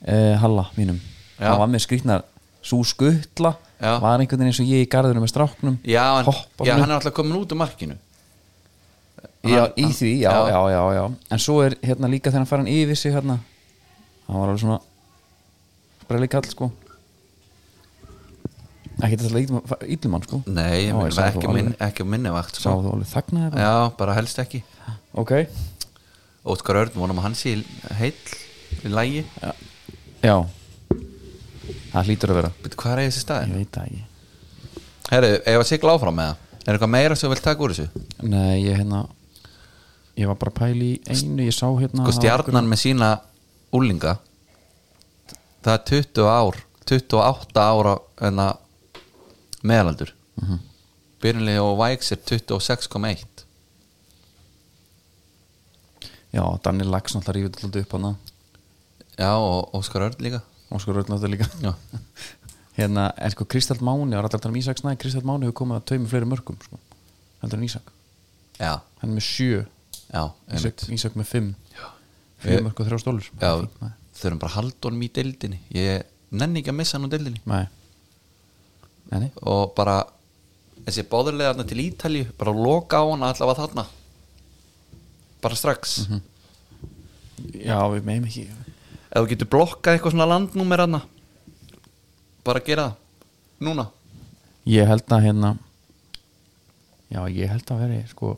Speaker 4: uh, Halla mínum
Speaker 5: Já.
Speaker 4: hann var með skrýtnar svo skuttla
Speaker 5: Já.
Speaker 4: var einhvern veginn eins og ég í garðinu með stráknum
Speaker 5: Já, en,
Speaker 4: Hoppar
Speaker 5: já
Speaker 4: hann
Speaker 5: hann er alltaf komin út úr markinu
Speaker 4: upp. já, í því, já,
Speaker 5: Já.
Speaker 4: já. Já, já, en svo er hérna líka þegar hann fær hann yfir sig hérna hann var alveg svona sprelli kall sko ekki þetta leiktum íllumann sko
Speaker 5: Nei,
Speaker 4: Já,
Speaker 5: ég meina,
Speaker 4: sá þú
Speaker 5: ekki,
Speaker 4: alveg-
Speaker 5: minn, ekki minni vakt
Speaker 4: sá
Speaker 5: sko.
Speaker 4: þú alveg þagnaði bara.
Speaker 5: Já, bara helst ekki
Speaker 4: ok,
Speaker 5: Óskar Örn, vonum að hann sé heill í lægi
Speaker 4: já það hlýtur að vera
Speaker 5: Býttu, hvað er þessi
Speaker 4: ég
Speaker 5: staðin?
Speaker 4: veit það ekki
Speaker 5: Herru, ef að sigla áfram með það Er eitthvað meira sem þú vilt taka úr þessu?
Speaker 4: Nei, ég hérna Ég var bara að pæli í einu Ég sá hérna
Speaker 5: Sko stjarnan með sína úlinga Það er 20 ár 28 ára hérna, enna meðalaldur mm -hmm. Byrjunlega og Vægs er 26,1
Speaker 4: já, Daniel Lax náttúrulega rífið þetta alltaf upp hana
Speaker 5: Já, og Óskar Örn líka
Speaker 4: og sko rögn náttúrulega líka
Speaker 5: Já,
Speaker 4: hérna, en sko Kristall Máni og rættar um Ísak Snæ, Kristall Máni hefur komið að taumi fleiri mörgum sko, heldur en Ísak
Speaker 5: já,
Speaker 4: hann er með sjö,
Speaker 5: já,
Speaker 4: Ísak,
Speaker 5: einmitt
Speaker 4: Ísak með fimm
Speaker 5: Já.
Speaker 4: fyrir
Speaker 5: Ég-
Speaker 4: mörg og þrjá stólur
Speaker 5: Já, þurfum bara að halda honum í deildinni Ég nenni ekki að missa hann úr deildinni
Speaker 4: nei nei, nei,
Speaker 5: Og bara, þessi bóðurlega þarna til Ítalíu Bara loka á hann allavega þarna Bara strax
Speaker 4: já, við meðum ekki
Speaker 5: Ef þú getur blokkað eitthvað svona landnúmer hana Bara gera það Núna
Speaker 4: ég held að hérna já, ég held að veri sko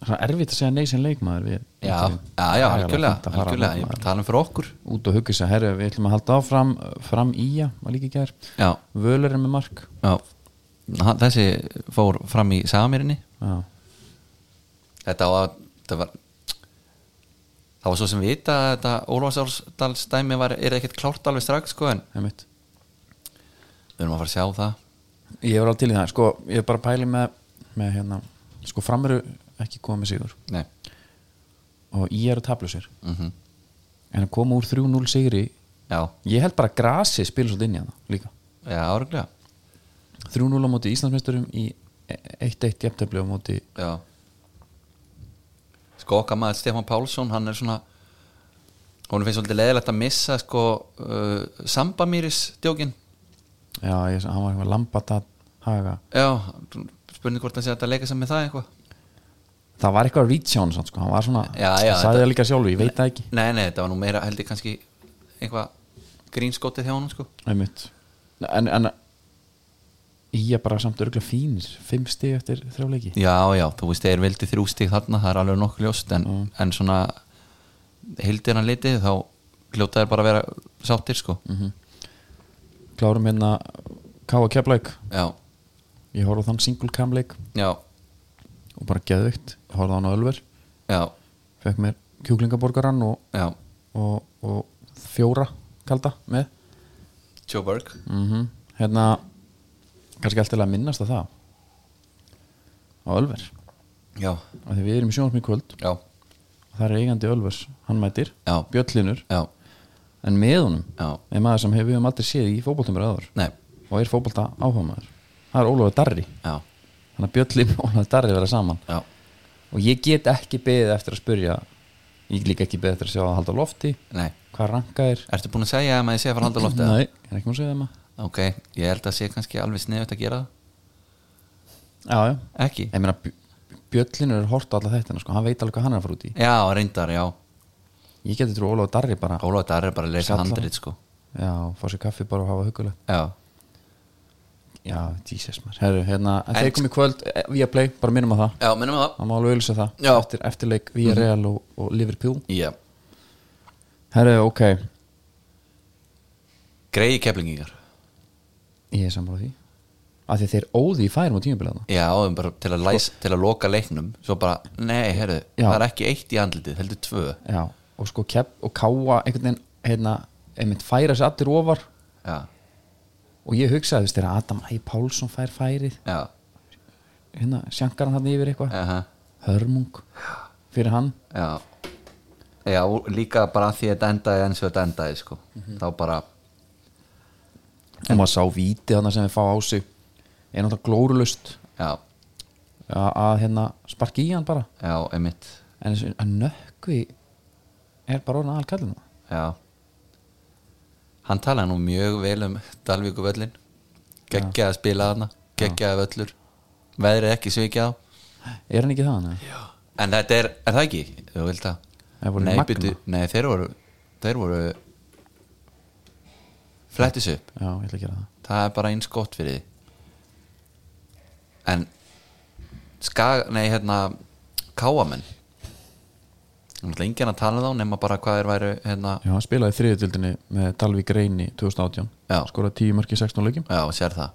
Speaker 4: svona erfitt að segja nei sem leikmaður við
Speaker 5: Já, já, já,
Speaker 4: Það er alveg
Speaker 5: algjörlega,
Speaker 4: fínt að fara
Speaker 5: algjörlega Ég
Speaker 4: þarna.
Speaker 5: bara tala um fyrir okkur
Speaker 4: út og hugga sér, herru, við ætlum að halda áfram fram í að, var líka í gær
Speaker 5: Já,
Speaker 4: völur er með mark
Speaker 5: já Hann- Þessi fór fram í samirinni
Speaker 4: já,
Speaker 5: Þetta var, þetta var Það var svo sem vita að þetta Ólafsársdals dæmi var, er ekkert klárt alveg strax sko en
Speaker 4: einmitt
Speaker 5: við erum að fara að sjá það
Speaker 4: ég var alveg til í það, sko, ég er bara að pæli með, með hérna, sko framveru ekki komið með sigur
Speaker 5: Nei,
Speaker 4: og ég er að tablu sér
Speaker 5: mm
Speaker 4: en að koma úr 3-0 sigri
Speaker 5: já,
Speaker 4: ég held bara að grasi spila svolítið inn í hana líka
Speaker 5: já, áruglega
Speaker 4: 3-0 á móti Íslandsmeisturum í e- 1-1 jafntöfli á móti
Speaker 5: Já Sko okkar maður Stefán Pálsson, hann er svona hún finnst svolítið leðilegt að missa sko uh, Sambamýris djókin
Speaker 4: já, ég, hann var eitthvað lambatat haga
Speaker 5: Já, spurning hvort hann sé hægt að leika sem með það eitthvað
Speaker 4: það var eitthvað reach á hann samt, sko. hann var svona
Speaker 5: Já, já,
Speaker 4: sagði
Speaker 5: þetta-
Speaker 4: það líka sjálfur, ég veit það ekki
Speaker 5: Nei, nei, þetta var nú meira held ég kannski eitthvað grínskotið hjá honum sko
Speaker 4: einmitt en, en ég er bara samt örgulega fínir fimm stig eftir þrjáleiki
Speaker 5: Já, já, þú veist, þeir vildi þrjú stík þarna það er alveg nokkuð ljóst en, en svona hildir hann litið þá hljóta þeir bara að vera sáttir sko
Speaker 4: klárum hérna K.A. Keflæk
Speaker 5: Já,
Speaker 4: ég horfði á þann single cam leik
Speaker 5: já,
Speaker 4: og bara geðvikt, horfði á hann á Ölver
Speaker 5: já,
Speaker 4: fekk mér kjúklingaborgarann og,
Speaker 5: já
Speaker 4: og, og fjóra kalda með
Speaker 5: Joe Burke
Speaker 4: mm
Speaker 5: Mhm.
Speaker 4: hérna kannski alltaf að minnast að það á Ölver
Speaker 5: Já,
Speaker 4: af því við erum í sjónvarpni í kvöld
Speaker 5: já,
Speaker 4: og það er eigandi Ölvers, hann mætir
Speaker 5: Já.
Speaker 4: Bjöllinur,
Speaker 5: já,
Speaker 4: en með honum
Speaker 5: Já.
Speaker 4: er maður sem hefur við höfum aldrei séð í fótboltum aður
Speaker 5: nei,
Speaker 4: og er fótbolta áhuga maður það er Ólafur Darri,
Speaker 5: já,
Speaker 4: þannig að Bjöllin og Ólafur Darri vera saman
Speaker 5: já
Speaker 4: og ég get ekki beðið eftir að spurja ég líka ekki beðið eftir að sjá að halda á lofti
Speaker 5: Nei,
Speaker 4: hvað ranka er
Speaker 5: ertu búin að segja að maður sé að fara að halda loftið?
Speaker 4: Nei, ég er ekki múið að segja það maður
Speaker 5: Ok, ég held að sé kannski alveg sniðut að gera það
Speaker 4: Já, já,
Speaker 5: Ekki?
Speaker 4: ég meina Bj- Bjöllin er hort á alla þetta sko. hann veit alveg hvað hann er að fara út í
Speaker 5: Já, reyndar, já
Speaker 4: ég geti trú Ólafur Darri bara
Speaker 5: Ólaf þetta er bara að leysa
Speaker 4: Sjallan.
Speaker 5: handrið sko
Speaker 4: já, fá sér kaffi bara og hafa hugulegt
Speaker 5: Já,
Speaker 4: já, Jesus maður, herru, hérna en
Speaker 5: En-
Speaker 4: þeir komið kvöld, via play, bara minnum að það
Speaker 5: já, minnum við það
Speaker 4: það má alveg auðvitað það
Speaker 5: Já.
Speaker 4: eftir, eftir leik via Real og, og Liverpool
Speaker 5: Já,
Speaker 4: herru, ok,
Speaker 5: greiði keflingingar
Speaker 4: ég er sammála því af því þeir óði í færum á tímabilaðna
Speaker 5: Já, um bara til að, læs, til að loka leiknum Svo bara, nei, herru,
Speaker 4: Sko- Já.
Speaker 5: það er ekki eitt í andlitið Heldur tvö
Speaker 4: já, og sko kepp og káa einhvern veginn, hérna einmitt færa sér allir ofar
Speaker 5: Já,
Speaker 4: og ég hugsaði, þú veist, þegar Adam Æ. Pálsson fær færið,
Speaker 5: já,
Speaker 4: hérna sjankar hann hann yfir eitthvað,
Speaker 5: aha,
Speaker 4: hörmung fyrir hann,
Speaker 5: já Já, og líka bara því að þetta endaði eins og þetta endaði sko.
Speaker 4: Mhm.
Speaker 5: Þá bara,
Speaker 4: og maður sá víti þarna sem við fá á sig er náttúrulega glórulust
Speaker 5: já,
Speaker 4: að, að hérna sparki í hann bara
Speaker 5: já, einmitt
Speaker 4: en þessi að nökkvi er bara orðin aðal kallina
Speaker 5: Já Hann talaði nú mjög vel um Dalvíku völlin Gekkjaði að spila þarna, geggjaði völlur Veðrið ekki svikið á
Speaker 4: er hann ekki það hann? eða?
Speaker 5: En þetta er, er það ekki? Þú vilt að
Speaker 4: Það voru
Speaker 5: Nei,
Speaker 4: Magna.
Speaker 5: byrju, nei, þeir voru Þeir voru Flettis upp
Speaker 4: já, ég ætla að gera það
Speaker 5: Það er bara eins gott fyrir því En Skag, nei hérna Káamenn Það er enginn að tala um þá nema bara hvað er væru hérna,
Speaker 4: já, hann spilaði þriðutildinni með Dalvík Reyni 2018,
Speaker 5: Já.
Speaker 4: skoraði 10 mörki í 16 leikum
Speaker 5: já, sér það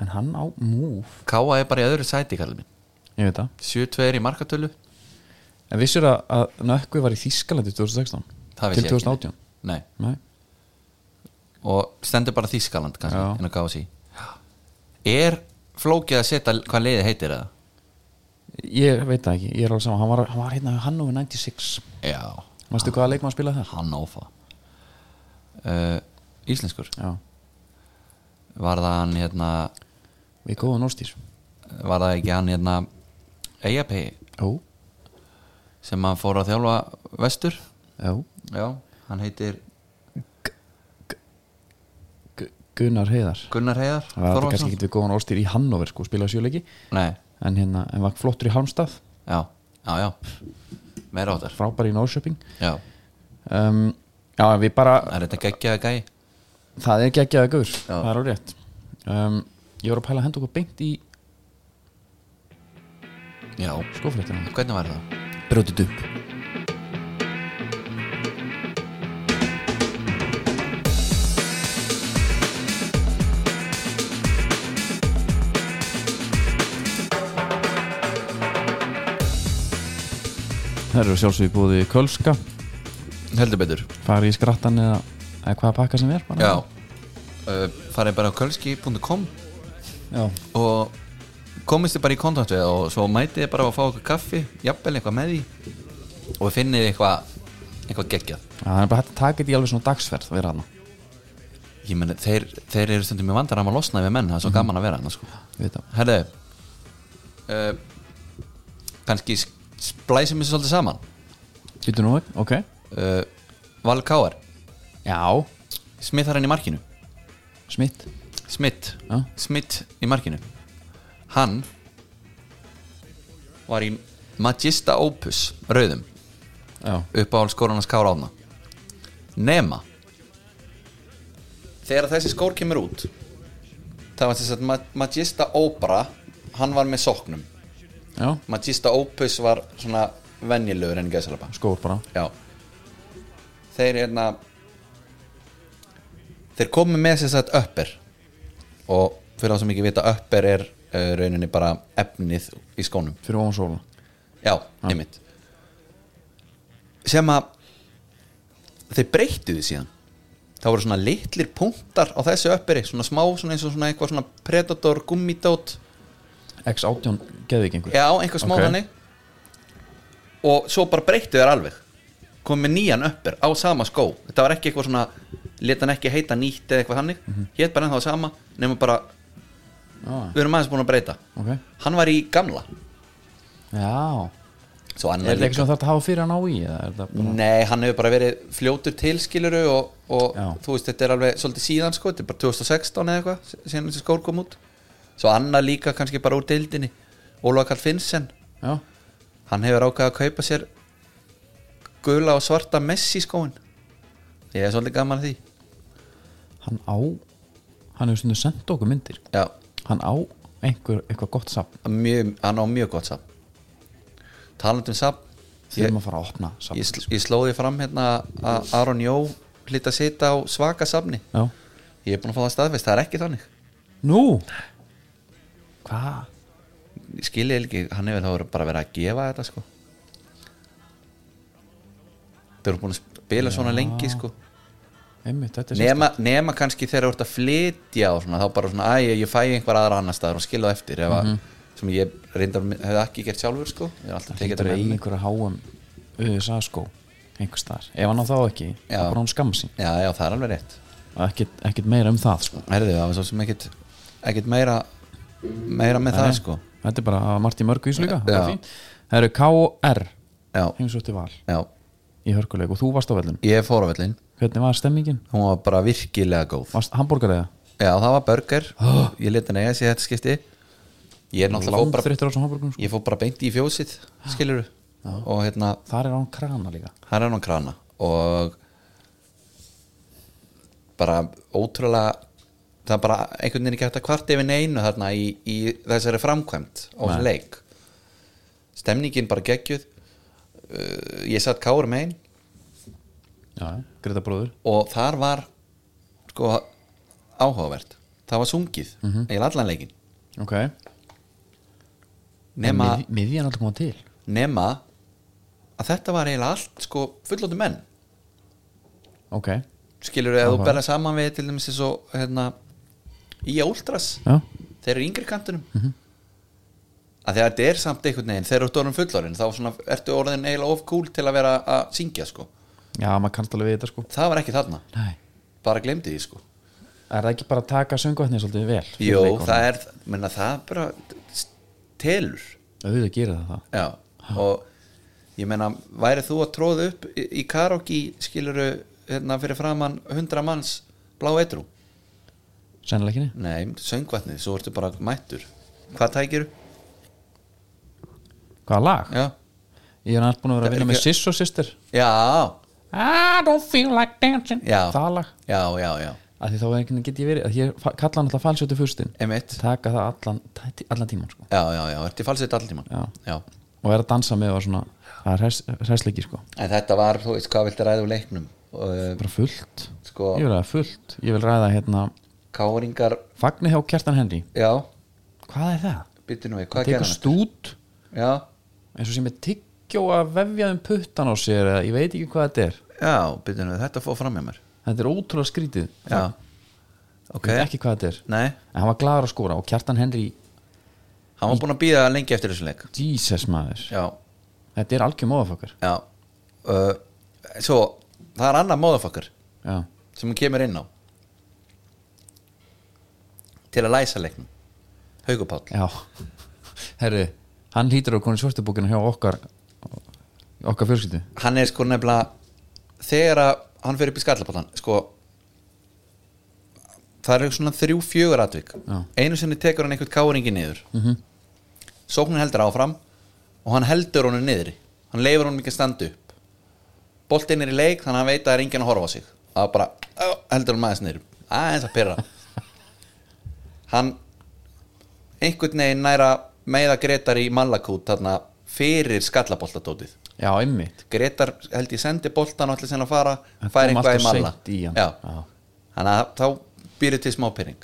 Speaker 4: en hann á múf,
Speaker 5: Káa er bara í öðru sæti, kallið minn
Speaker 4: ég veit það
Speaker 5: 7-2 í markatölu
Speaker 4: en vissur að, að nökkvi var í Þískalandi 2016
Speaker 5: Það
Speaker 4: til
Speaker 5: vissi ég ekki.
Speaker 4: 2018
Speaker 5: Nei.
Speaker 4: Nei.
Speaker 5: og stendur bara Þískaland kannski
Speaker 4: Já.
Speaker 5: inn á KFC er flókið að setja hvað liðið heitir eða
Speaker 4: ég veit það ekki, ég er alveg saman hann var, hann var hérna Hannover 96
Speaker 5: Já,
Speaker 4: Manstu hvaða leikmann spilaði þar?
Speaker 5: hann áfa uh, Íslenskur
Speaker 4: Já,
Speaker 5: Var það hann hérna
Speaker 4: við góðum óstýr
Speaker 5: Var það ekki hann hérna Eyjapegi
Speaker 4: Ó,
Speaker 5: sem hann fór að þjálfa vestur
Speaker 4: já
Speaker 5: Já, hann heitir
Speaker 4: Gu- Gunnar Heiðar
Speaker 5: Gunnar Heiðar
Speaker 4: Það var þetta kannski
Speaker 5: Þorvaldsson.
Speaker 4: ekki við góðan óstýr í Hannover sko, spilaði sjöleiki
Speaker 5: Nei,
Speaker 4: en hérna, en var flottur í Halmstað
Speaker 5: já, já, já Meira áttar
Speaker 4: frábær í Norrköping
Speaker 5: Já,
Speaker 4: um, Já, en við bara,
Speaker 5: það er þetta geggjaði gæi
Speaker 4: það er geggjaði gaur
Speaker 5: Já.
Speaker 4: það er á rétt um, Ég voru að pæla að henda okkur beint í
Speaker 5: Já,
Speaker 4: skófréttina
Speaker 5: hvernig var það?
Speaker 4: Brjótið upp Það eru sjálfsög búið í Kölska
Speaker 5: Heldur betur
Speaker 4: farið í skrattan eða, eða hvaða pakka sem er bara.
Speaker 5: Já uh, Farið bara á kölski.com
Speaker 4: Já.
Speaker 5: og komist þið bara í kontakt við það og svo mætið þið bara að fá okkur kaffi jafnvel eitthvað með því og finnið þið eitthvað eitthvað geggjað
Speaker 4: Það er bara hægt að taka þetta í alveg svona dagsferð að vera hana
Speaker 5: ég meni þeir, þeir eru stundum í vandaram að losna við menn það er svo gaman að vera hann sko. herðu uh, kannski s- splæsum þessu svolítið saman
Speaker 4: Býtu nú, ok
Speaker 5: uh, Val Káar
Speaker 4: Já,
Speaker 5: smittarinn í markinu
Speaker 4: smitt
Speaker 5: smitt
Speaker 4: Já.
Speaker 5: smitt í markinu hann var í Magista Opus rauðum
Speaker 4: Já,
Speaker 5: uppáhald skórarnas Kára Átna nema þegar þessi skór kemur út það var þess að Ma- Magista Opera hann var með soknum
Speaker 4: já,
Speaker 5: Magista Opus var svona venjulegur en gæsalapa
Speaker 4: skór bara
Speaker 5: já þeir hérna þeir komu með þess að upper og fyrir það sem ekki vita upper er uh, rauninni bara efnið í skónum
Speaker 4: Fyrir ofan sóla
Speaker 5: Já, einmitt Sem að þeir breyttu því síðan Það voru svona litlir punktar á þessu öpperi Svona smá, svona eins og svona eitthvað svona predator, gummidót
Speaker 4: X18 geðvikingur
Speaker 5: Já, einhver smá
Speaker 4: Ok.
Speaker 5: þannig Og svo bara breyttu þér alveg Komið með nýjan öppir á sama skó Þetta var ekki eitthvað svona Lét hann ekki heita nýtt eða eitthvað hannig mm
Speaker 4: Mhm.
Speaker 5: Hétt bara ennþá sama Nefnum bara,
Speaker 4: Já,
Speaker 5: við erum aðeins búin að breyta
Speaker 4: ok
Speaker 5: Hann var í gamla
Speaker 4: Já,
Speaker 5: Svo
Speaker 4: er
Speaker 5: annað
Speaker 4: þetta
Speaker 5: líka
Speaker 4: ekki sem þarf að hafa fyrir hann á í eða er þetta bara
Speaker 5: Nei, hann hefur bara verið fljótur tilskiluru og, og
Speaker 4: Já.
Speaker 5: þú veist, þetta er alveg svolítið síðan sko, þetta er bara 2016 eða eitthvað síðan þessi skór kom út svo annað líka kannski bara úr deildinni Ólofa Karl Finnsen,
Speaker 4: Já,
Speaker 5: hann hefur ákveða að kaupa sér gula og svarta Messi skóin ég er svolítið gaman að því
Speaker 4: hann á Hann hefur stundum sendt okkur myndir
Speaker 5: Já,
Speaker 4: Hann á einhver, eitthvað gott safn
Speaker 5: mjög, hann á mjög gott safn talandi um safn ég,
Speaker 4: Þegar maður fara að opna safn
Speaker 5: ég, sl- ég slóði fram hérna að Aron Jó hlýtt að sita á svaka safni
Speaker 4: Já
Speaker 5: ég er búin að fá það staðfest, það er ekki þannig
Speaker 4: Nú Hvað?
Speaker 5: Ég skil ég ekki, hann hefur þá bara verið að gefa þetta sko Þau eru búin að spila svona lengi sko
Speaker 4: Einmitt, þetta er
Speaker 5: nema, nema kannski þegar þú ert að flytja og svona, þá bara svona, æ, ég fæ einhver aðra annar staðar og skilu það eftir ef að,
Speaker 4: Mhm.
Speaker 5: sem ég reyndar hefði ekki gert sjálfur sko ég er alltaf
Speaker 4: Það
Speaker 5: tekið
Speaker 4: getur
Speaker 5: þetta með
Speaker 4: eigin
Speaker 5: mig.
Speaker 4: einhverja háum USA skó einhvers staðar, ef hann á þá ekki þá
Speaker 5: Já.
Speaker 4: bara hann skam sín
Speaker 5: Já, já, það er alveg rétt
Speaker 4: og ekkert, ekkert meira um það sko.
Speaker 5: Herðu, það var svo sem ekkit, ekkit meira meira með það sko
Speaker 4: þetta er bara að Marti Mörgu ísluga það
Speaker 5: Já.
Speaker 4: er fínt. Það eru KR
Speaker 5: Já,
Speaker 4: heimsótti val
Speaker 5: já,
Speaker 4: í hörkuleik og þú varst á vellinu
Speaker 5: ég fór á vellin
Speaker 4: hvernig var stemmingin?
Speaker 5: hún var bara virkilega góð
Speaker 4: Varst hambúrgar eða?
Speaker 5: Já, það var burger Ég leti neyja sér þetta skipti Ég er náttúrulega fór bara,
Speaker 4: Langþreyttur á þessum hambúrgum sko.
Speaker 5: ég fór bara beint í fjósið Skilur Og hérna,
Speaker 4: þar er hann krana líka
Speaker 5: það er hann krana Og Bara ótrúlega Það er bara einhvern veginn ekki hægt að kvarta yfir neinu Þarna í, í þessari framkvæmt Á þessum leik Stemningin bara geggjuð uh, Ég satt káur megin
Speaker 4: já, Greta bróður
Speaker 5: og þar var sko áhugavert það var sungið, mm -hmm. eiginlega allan leikin
Speaker 4: okay.
Speaker 5: nema,
Speaker 4: Mið- miðjan alltaf koma til
Speaker 5: nema að þetta var eiginlega allt sko fullóttu menn
Speaker 4: ok,
Speaker 5: skilur eða þú
Speaker 4: Áhugavert.
Speaker 5: berða saman við til dæmis eins og hérna í Ultras
Speaker 4: já,
Speaker 5: þeir eru í yngri kantunum að því að þetta er samt einhvern veginn þegar þú ert orðin fullorinn þá svona, ertu orðin eiginlega of cool til að vera að syngja sko.
Speaker 4: já, maður kannst alveg við þetta sko
Speaker 5: það var ekki þarna,
Speaker 4: Nei.
Speaker 5: bara glemdi því sko.
Speaker 4: er það ekki bara að taka söngvætni svolítið vel fyrir
Speaker 5: Jó,
Speaker 4: leikonum?
Speaker 5: það er, menna, það er bara telur
Speaker 4: auðvitað gerir það það
Speaker 5: Já, og ég meina, væri þú að tróða upp í, í karaoke skiluru hérna, fyrir framann 100 manns blá eitrú?
Speaker 4: sennilega ekki nei.
Speaker 5: Nei, söngvatnið, svo ertu bara mættur Hvað tækiru?
Speaker 4: hvaða lag?
Speaker 5: Já,
Speaker 4: ég er alltaf búin að vera
Speaker 5: Það
Speaker 4: að
Speaker 5: er
Speaker 4: vinna með
Speaker 5: ekki-
Speaker 4: Siss og Sister
Speaker 5: já,
Speaker 4: I don't feel like dancing
Speaker 5: já
Speaker 4: það lag
Speaker 5: Já, já, já,
Speaker 4: að því þá er ekki get ég verið að ég fa- kalla hann alltaf falsjóttu fyrstin
Speaker 5: emitt
Speaker 4: taka það allan, tæ- allan tíman sko.
Speaker 5: Já, já, já, ertu falsið alltíman
Speaker 4: Já.
Speaker 5: já
Speaker 4: og er að dansa með og svona það er hress, hressleiki sko
Speaker 5: En þetta var, þú veist, hvað viltu ræða úr leiknum? Uh,
Speaker 4: bara fullt,
Speaker 5: sko,
Speaker 4: ég vil ræða fullt ég vil ræða hérna
Speaker 5: káringar,
Speaker 4: Fagni hjá Kjartan Henry,
Speaker 5: já,
Speaker 4: hvað er það?
Speaker 5: byttu nú við, hvað
Speaker 4: tekur
Speaker 5: gerðum við?
Speaker 4: stút
Speaker 5: Já,
Speaker 4: eins og sem er tyggjó að vefja um puttan á sér eða ég veit ekki hvað þetta er
Speaker 5: já, byttu nú við, þetta fór fram með mér
Speaker 4: þetta er ótrúlega skrítið
Speaker 5: Já,
Speaker 4: ég
Speaker 5: ok
Speaker 4: veit ekki hvað þetta er
Speaker 5: Nei,
Speaker 4: en hann var gladur að skora og Kjartan Henry
Speaker 5: hann var búin að býða lengi eftir þessu leik
Speaker 4: Jesus maður,
Speaker 5: Já,
Speaker 4: þetta er algjör móðafokkar
Speaker 5: já uh, Svo, það er annar móðafokkar
Speaker 4: já,
Speaker 5: sem hún kemur inn á til að læsa leiknum Haugupáll
Speaker 4: já herru, hann hlýtur að konu svörstubókina hjá okkar okkar fjörskildu
Speaker 5: Hann er sko nefnilega þegar að hann fer upp í skallapallan sko það eru svona þrjú fjögur atvik
Speaker 4: Já.
Speaker 5: einu sinni tekur hann einhvern káringi niður mm -hmm. sóknin heldur áfram og hann heldur honum niðri hann leifur honum ekki að standa upp boltinn er í leik þannig að hann veit að það er enginn að horfa á sig að bara "Ó", heldur hann maður niður aðeins að pyrra hann einhvern veginn næra meða Gretar í Malakút þarna fyrir skallaboltatótið
Speaker 4: já, einmitt
Speaker 5: Gretar held ég sendi boltan og allir sinna að fara
Speaker 4: Hann
Speaker 5: fær
Speaker 4: kom
Speaker 5: eitthvað í
Speaker 4: alltaf
Speaker 5: malla
Speaker 4: seint í hann.
Speaker 5: Já.
Speaker 4: Já.
Speaker 5: þannig að þá býrðu til smá pyrring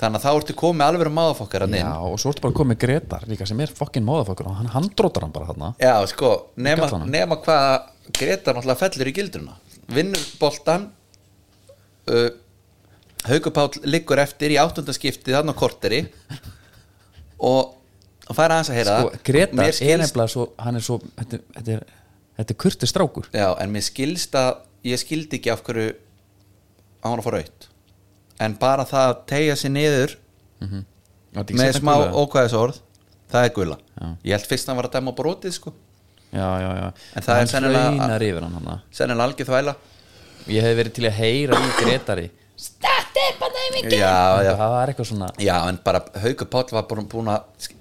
Speaker 5: þannig að þá ertu komið alveg um maðurfokkar að
Speaker 4: já,
Speaker 5: neina
Speaker 4: og svo ertu bara komið Gretar líka sem er fokkin móðafokkar og hann handrótar hann bara þarna
Speaker 5: Já, sko, nema,
Speaker 4: Gallanum.
Speaker 5: nema hvað Gretar náttúrulega fellur í gildruna vinnur boltan uh, Haukupáll liggur eftir í áttundaskipti þannig á korteri og og fær aðeins að heyra
Speaker 4: sko,
Speaker 5: það.
Speaker 4: Gretar
Speaker 5: Mér
Speaker 4: er
Speaker 5: skilst-
Speaker 4: nefnilega svo, hann er svo þetta, þetta er, þetta er kurtið strákur
Speaker 5: Já, en mér skilst að ég skildi ekki af hverju að hann að fá raut en bara það að tegja sér niður
Speaker 4: Var þetta ekki
Speaker 5: með
Speaker 4: seinna
Speaker 5: smá
Speaker 4: gula?
Speaker 5: ókvæðisorð það er gula
Speaker 4: Já.
Speaker 5: ég held fyrst að hann var að dæma brotið sko
Speaker 4: já, já, já.
Speaker 5: En það er
Speaker 4: hann
Speaker 5: sennilega-
Speaker 4: hraunar yfir hann hann
Speaker 5: sennilega algjör þvæla
Speaker 4: ég hef verið til að heyra í Gretari
Speaker 5: já, já,
Speaker 4: það var eitthvað svona
Speaker 5: já, en bara Haukur Páll var búin, búin að
Speaker 4: það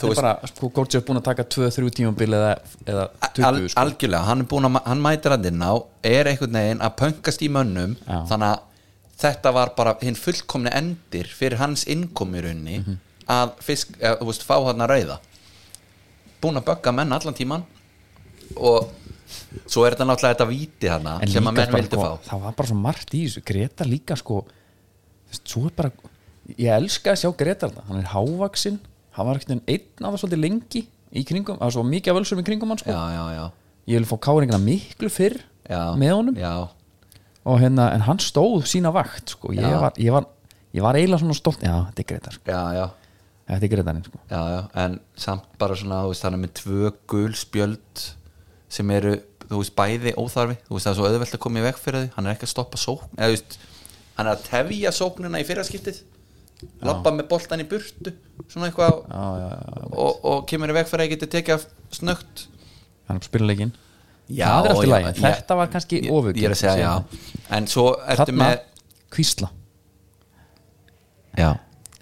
Speaker 5: Þú
Speaker 4: er
Speaker 5: veist-
Speaker 4: bara, sko, Gorgeous búin að taka 2-3 tímabil eða, eða
Speaker 5: al,
Speaker 4: 20 sko.
Speaker 5: algjörlega, hann, er búinn að, ma- hann mætir hann inn á er einhvern veginn að pönkast í mönnum
Speaker 4: Já.
Speaker 5: þannig að þetta var bara hinn fullkomni endir fyrir hans innkomi í rauninni
Speaker 4: Mhm.
Speaker 5: að fisk, eða, þú veist, fá hann að rauða búin að bögga menn allan tíman og svo er þetta náttúrulega þetta víti hana
Speaker 4: en
Speaker 5: sem
Speaker 4: líka
Speaker 5: að menn
Speaker 4: bara,
Speaker 5: vildi
Speaker 4: sko,
Speaker 5: fá
Speaker 4: það var bara svo margt í þessu Greta líka sko þú veist, svo er bara, ég elska að sjá Greta þarna. hann er hávaksinn, hann var ekkert einn af það svolítið lengi í kringum, það var svo mikið af völsum í kringum hann sko
Speaker 5: já, já, já,
Speaker 4: ég vil fá káringina miklu fyrr
Speaker 5: já
Speaker 4: með honum
Speaker 5: já,
Speaker 4: og hérna, en hann stóð sína vakt sko. ég,
Speaker 5: Já.
Speaker 4: var, ég, var, ég var eiginlega svona stolt já, þetta er Gretar sko.
Speaker 5: já, já,
Speaker 4: þetta er Gretarinn sko.
Speaker 5: já, já. en samt bara svona, þú veist, hann er með tvö gul spjöld sem eru, þú veist, bæði óþarfi, þú veist, það er svo auðvelt að koma í veg fyrir því hann er ekki að stoppa sókn eða, þú veist, hann er að tefja sóknina í fyrraskiptið lappa með boltan í burtu svona eitthvað
Speaker 4: já, já, já,
Speaker 5: og, og kemur í veg fyrir að geta tekið af snögt
Speaker 4: hann spila leikinn
Speaker 5: Já,
Speaker 4: það er eftir
Speaker 5: já,
Speaker 4: læg,
Speaker 5: ég-
Speaker 4: þetta var kannski
Speaker 5: ég,
Speaker 4: ofur
Speaker 5: ég er að segja, já, en svo ertu
Speaker 4: þarna,
Speaker 5: með
Speaker 4: kvísla
Speaker 5: já,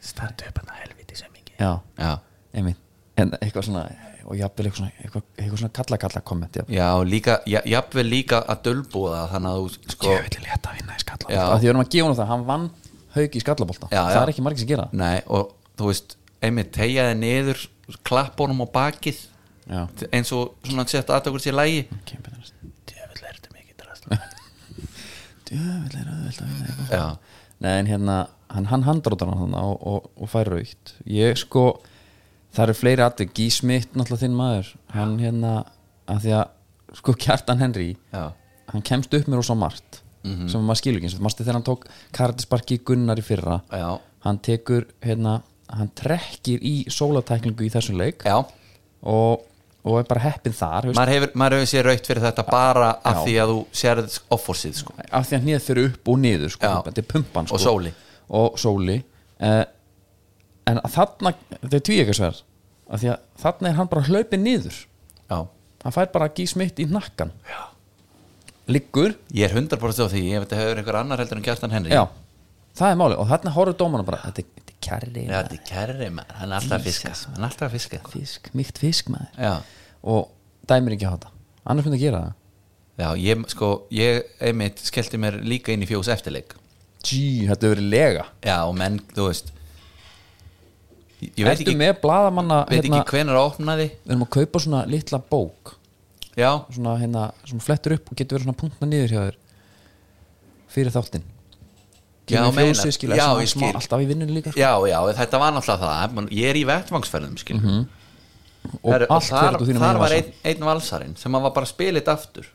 Speaker 4: startu upp hann að helviti sem ekki já,
Speaker 5: já,
Speaker 4: einmitt en eitthvað svona, og jafnvel eitthvað svona eitthvað, eitthvað svona kalla-kalla komment já,
Speaker 5: já, líka já, jafnvel líka að dölbúða þannig að þú, sko,
Speaker 4: ég vil létta að vinna í
Speaker 5: Já.
Speaker 4: skallabolta Af því við erum að gefa hann það, hann vann hauki í skallabolta
Speaker 5: Já,
Speaker 4: það
Speaker 5: já.
Speaker 4: er ekki margir sem gera það.
Speaker 5: Nei, og þú veist, einmitt tegjaði niður klappunum á bakið
Speaker 4: já,
Speaker 5: eins og svona að setja aðtökur sér lægi
Speaker 4: kemur djöfull er þetta mikið drasl djöfull er auðvelt að vinna í bolta.
Speaker 5: Já,
Speaker 4: Nei, en hérna, hann, hann handrótar hann þarna og, og, og fær raukt ég sko, það eru fleiri atvik Gísmitt, náttúrulega þinn maður hann hérna, að því að sko Kjartan Henry,
Speaker 5: já, Mhm.
Speaker 4: hann kemst upp mér og svo margt, sem maður skilur ekki eins og mannstu þegar hann tók kardisparki Gunnar í fyrra
Speaker 5: já,
Speaker 4: hann tekur hérna hann trekkir í sólatæklingu í þessum leik
Speaker 5: Já,
Speaker 4: og, og er bara heppin þar Ma
Speaker 5: maður hefur, maður hefur sér raukt fyrir þetta bara
Speaker 4: Já.
Speaker 5: af því að þú sérð offorsið sko.
Speaker 4: af því að hnið fyrir upp og niður sko,
Speaker 5: Já.
Speaker 4: þetta er pumpan sko.
Speaker 5: Og sóli.
Speaker 4: og sóli eh, en þarna, þetta er tvíekarsverð af því að þarna er hann bara hlaupin niður
Speaker 5: Já,
Speaker 4: hann fær bara gís mitt í nakkan Já. liggur
Speaker 5: ég er 100% á því Ég veit að hefur einhver annar heldur en Kjartan Henry
Speaker 4: Já, það er málið og þarna horfður dómarna bara þetta er- þetta er kærri
Speaker 5: Já, þetta er kærri maður, hann er alltaf að fiska Hann er alltaf að fiska
Speaker 4: fisk, mýkt fisk maður
Speaker 5: Já,
Speaker 4: og dæmir ekki á þetta annars myndi að gera það
Speaker 5: já ég, sko, ég einmitt skellti mér líka inn í fjós eftirleik
Speaker 4: Gee, þetta hefur verið lega
Speaker 5: Já, og menn, þú veist Ég, ég veit
Speaker 4: Ertu
Speaker 5: ekki,
Speaker 4: með blaðamanna
Speaker 5: veit
Speaker 4: hérna,
Speaker 5: ekki hvenær að opna því
Speaker 4: við erum að kaupa svona litla bók
Speaker 5: Já,
Speaker 4: svona hérna, sem flettur upp og getur verið svona punktna niður hjá þér fyrir þáttinn
Speaker 5: Já,
Speaker 4: Gylfi
Speaker 5: meinar.
Speaker 4: Fjósi, skilur,
Speaker 5: Já,
Speaker 4: svona
Speaker 5: ég
Speaker 4: smá-
Speaker 5: skil.
Speaker 4: alltaf í vinnunni líka sko.
Speaker 5: já, já, þetta var náttúrulega það Man- Ég er í vettvangsferðum, skil mm -hmm.
Speaker 4: og
Speaker 5: Herru,
Speaker 4: allt
Speaker 5: þar,
Speaker 4: fyrir þú þínum
Speaker 5: þar
Speaker 4: eigin
Speaker 5: var
Speaker 4: vasa.
Speaker 5: einn, einn valsarinn sem hann var bara spilið aftur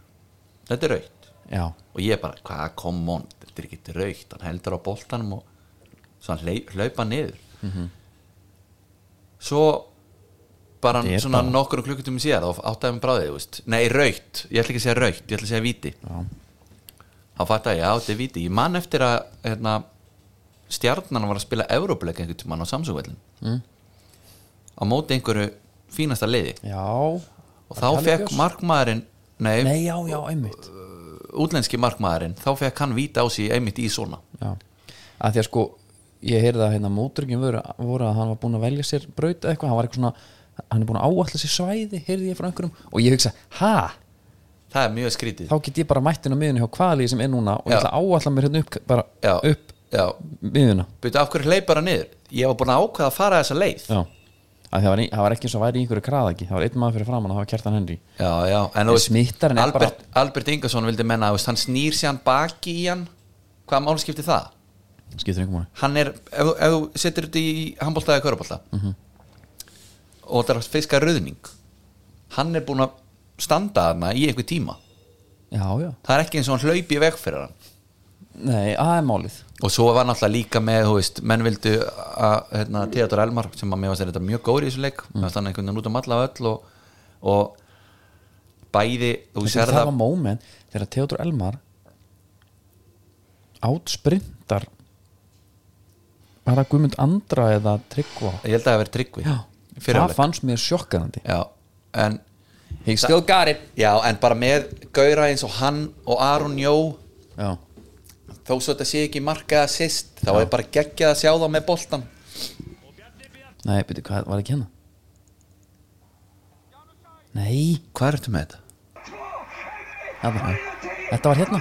Speaker 5: þetta er raukt
Speaker 4: Já,
Speaker 5: og ég bara, hvað kom on þetta er ekki raukt, hann heldur á boltanum og svo hann hlei- hlaupa niður
Speaker 4: Mhm.
Speaker 5: svo bara
Speaker 4: Þetta er
Speaker 5: svona
Speaker 4: bara-
Speaker 5: nokkur klukkutum síðar og áttæðum bráðið, þú veist nei, raukt, ég ætla ekki að segja raukt, ég ætla að segja víti
Speaker 4: Já.
Speaker 5: þá fatt að já, þetta er víti ég man eftir að hérna, stjarnan var að spila Európuleik einhvern tímann á Samsungvellin mm. á móti einhverju fínasta liði
Speaker 4: já
Speaker 5: og þá fekk markmaðurinn nei,
Speaker 4: Nei, já, já, einmitt
Speaker 5: útlenski markmaðurinn þá fekk hann víta á sig einmitt í svona
Speaker 4: Já, að því að sko ég heyrði að hérna móturgin voru, voru að hann var búin að velja sér braut eða eitthvað, hann var eitthvað svona hann er búin að áallega sér svæði, heyrði ég frá einhverjum og ég hugsa, ha,
Speaker 5: það er mjög skrítið
Speaker 4: þá get ég bara mættin á miðunni hjá hvaða liði sem er núna og
Speaker 5: Já.
Speaker 4: ég ætla að áallega mér hérna upp, bara
Speaker 5: já,
Speaker 4: upp
Speaker 5: já,
Speaker 4: miðuna
Speaker 5: byrju af hverju hleypar hann niður ég var búin að ákveða að fara þessa leið já,
Speaker 4: Já, að það var, það var ekki eins og væri í einhverju kraðagi, það var einn maður fyrir framann og það var Kjartan Henry
Speaker 5: já, en
Speaker 4: En
Speaker 5: þú veist,
Speaker 4: smittarinn er
Speaker 5: Albert, Albert Ingersson vildi menna, þú veist, hann snýr sér hann baki í hann hvað mál skipti það?
Speaker 4: skiptir einhverjum
Speaker 5: hann er, ef, þú- ef þú setur þetta í handbólta eða körubólta
Speaker 4: Mhm.
Speaker 5: og þetta er að fiska röðning hann er búin að standa þarna í einhver tíma
Speaker 4: Já, já,
Speaker 5: það er ekki eins og hann hlaupi í veg fyrir hann
Speaker 4: nei, að það er málið
Speaker 5: og svo var náttúrulega líka með þú veist, menn vildu að hérna, Theodor Elmar sem að mér var sér þetta mjög góður í þessu leik mm. þannig einhvern veginn út um alla öll og, og bæði þú
Speaker 4: Þetta
Speaker 5: sér
Speaker 4: það var
Speaker 5: það
Speaker 4: moment þegar Theodor Elmar átsprintar bara Guðmund Andra eða Tryggva
Speaker 5: ég held að það hafi verið tryggvi
Speaker 4: Já,
Speaker 5: fyrir
Speaker 4: það
Speaker 5: alveg
Speaker 4: fannst mér sjokkarandi
Speaker 5: já, en,
Speaker 4: He still got it
Speaker 5: já, en bara með Gaura eins og hann og Aron Jó
Speaker 4: Já,
Speaker 5: þó svo þetta sé ekki markaða sýst þá er bara geggjað að sjá það með boltan
Speaker 4: nei, byrju, hvað var ekki hérna? Nei,
Speaker 5: hvað er þetta með þetta?
Speaker 4: hérna Þetta var hérna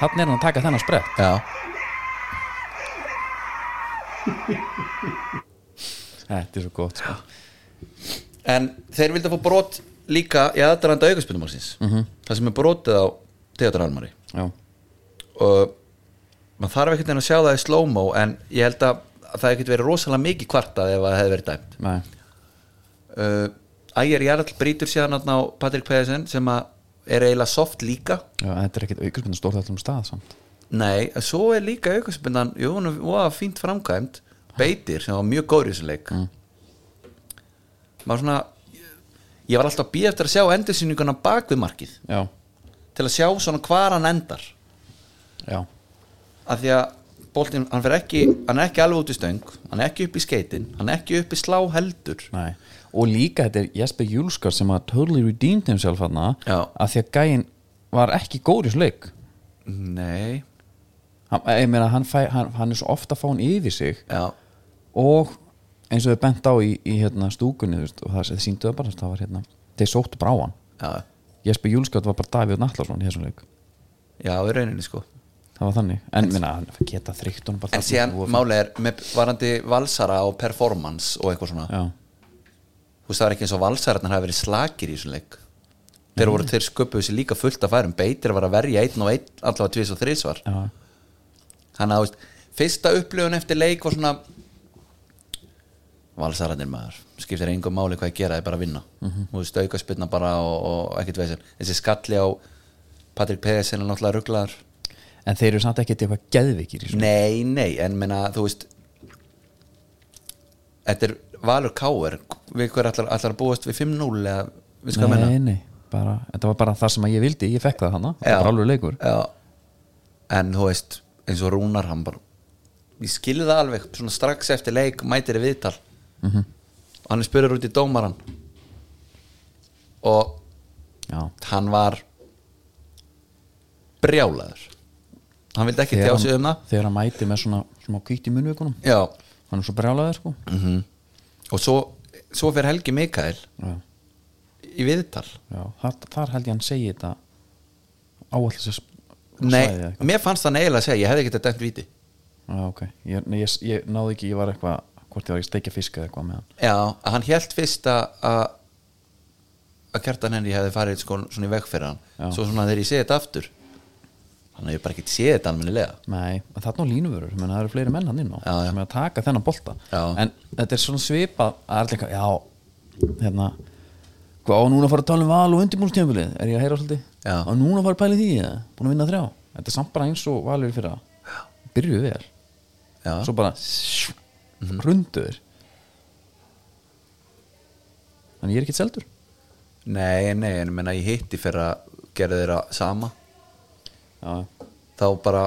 Speaker 4: Þannig er hann að taka þennan sprett
Speaker 5: já,
Speaker 4: Þetta er svo gott sko.
Speaker 5: en þeir vildu að fá brot líka í aðdraranda aukaspunumálsins mm -hmm. það sem er brotið á Theodor Elmari
Speaker 4: Já,
Speaker 5: og maður þarf ekkert enn að sjá það í slow-mo en ég held að það hefði ekkert verið rosalega mikið kvartað ef það hefði verið dæmt
Speaker 4: nei,
Speaker 5: uh, Ægir Jarl brýtur síðan þarna á Patrik Pæðisen sem að er eiginlega soft líka
Speaker 4: Já, en þetta er ekkit aukvöldbundu stórþáttum stað um samt
Speaker 5: nei, en svo er líka aukarspennan jú, hún var fínt framkvæmt beitir sem var mjög góður í þessum leik maður svona ég var alltaf að býja eftir að sjá endursýninguna bak við markið
Speaker 4: Já,
Speaker 5: til að sjá svona hvar hann endar
Speaker 4: já
Speaker 5: að því að boltinn, hann, fer ekki, hann er ekki alveg út í stöng hann er ekki upp í skeitin, hann er ekki upp í slá heldur
Speaker 4: Nei. og líka þetta er Jesper Júlskar sem að totally redeemed himself hann
Speaker 5: Já.
Speaker 4: að því að gæinn var ekki góður í sleik
Speaker 5: nei,
Speaker 4: hann, ég meina, hann, fæ, hann, hann er svo ofta að fá hann yfir sig
Speaker 5: já,
Speaker 4: og eins og þau bent á í, í hérna, stúkunni þú veist, og það sýndu það bara þú veist, það var, hérna, þeir sóttu bara á hann
Speaker 5: já
Speaker 4: Jesper Júlskar var bara Davíð Nallarsson í þessum leik
Speaker 5: já, í rauninni sko
Speaker 4: það var þannig, en minna, hann geta þrygt honum bara
Speaker 5: en
Speaker 4: þarna
Speaker 5: síðan
Speaker 4: og-
Speaker 5: málið er með varandi valsara og performance og eitthvað svona
Speaker 4: já,
Speaker 5: þú veist það er ekki eins og valsararnar hafi verið slakir í þessum leik þeir voru þeir sköpuðu sér líka fullt að færum beitir var að verja einn og einn allavega tvís og þrísvar
Speaker 4: já,
Speaker 5: þannig að þú veist, fyrsta upplifun eftir leik var svona valsararnir maður, skiptir engum máli hvað ég gera, ég bara vinna
Speaker 4: Mhm.
Speaker 5: þú veist, auka spilna bara og, og ekkert veisinn þessi skalli á Patrik Pæðisen er náttúrulega rugglaðar
Speaker 4: en þeir eru samt ekkert eitthvað geðvikir í svona
Speaker 5: Nei, nei, en menna, þú veist Þetta er Valur Káur Við hver allar, allar að búast við 5-0 eða við skoðum
Speaker 4: nei,
Speaker 5: menna
Speaker 4: nei, bara, þetta var bara það sem að ég vildi ég fekk það hana, það var bara alveg leikur
Speaker 5: Já. En þú veist, eins og Rúnar hann bara Ég skilði það alveg, svona strax eftir leik mætir í viðtal og hann er spurður út í dómaran og
Speaker 4: já,
Speaker 5: hann var brjálaður hann vildi ekki tjá
Speaker 4: þegar
Speaker 5: sig um
Speaker 4: hann,
Speaker 5: það
Speaker 4: þegar hann mæti með svona, svona kvíti munveikunum
Speaker 5: Já,
Speaker 4: hann er svo brjálaður sko
Speaker 5: Mm. og svo, svo fyrir Helgi Mikael
Speaker 4: já,
Speaker 5: í viðtal
Speaker 4: já, þar, þar held ég hann segi þetta áallis að svæði
Speaker 5: Nei, mér fannst það eiginlega að segja, ég hefði ekki þetta dæmt víti
Speaker 4: já, ok, ég, nei, ég, ég náði ekki ég var eitthvað, hvort ég var ekki steikja fisk eða eitthvað með hann
Speaker 5: Já, að hann hélt fyrst að að að kjartan henni hefði farið sko, svona í veg fyrir hann
Speaker 4: Já.
Speaker 5: svo svona þegar ég sé þetta aftur hann hefði bara ekkert séð þetta almennilega
Speaker 4: nei, en þarna á línuvörur, menn það eru fleiri menn hann inn á
Speaker 5: Já, já.
Speaker 4: sem er að taka þennan bolta
Speaker 5: Já.
Speaker 4: en þetta er svona svipað að er líka, já, hérna hvað á núna að fara að tala um val og undirbúrstjöfnbilið er ég að heyra svolítið,
Speaker 5: Já.
Speaker 4: á núna að fara að pæla í því eða? búin að vinna þrjá, þetta er samt bara eins og valur fyrir að byrjuðu vel
Speaker 5: Já, Mhm.
Speaker 4: svo bara hrunduður þannig ég er ekkert seldur
Speaker 5: Nei, nei, en ég menna ég hitti fyrir að gera þeirra sama
Speaker 4: já,
Speaker 5: þá bara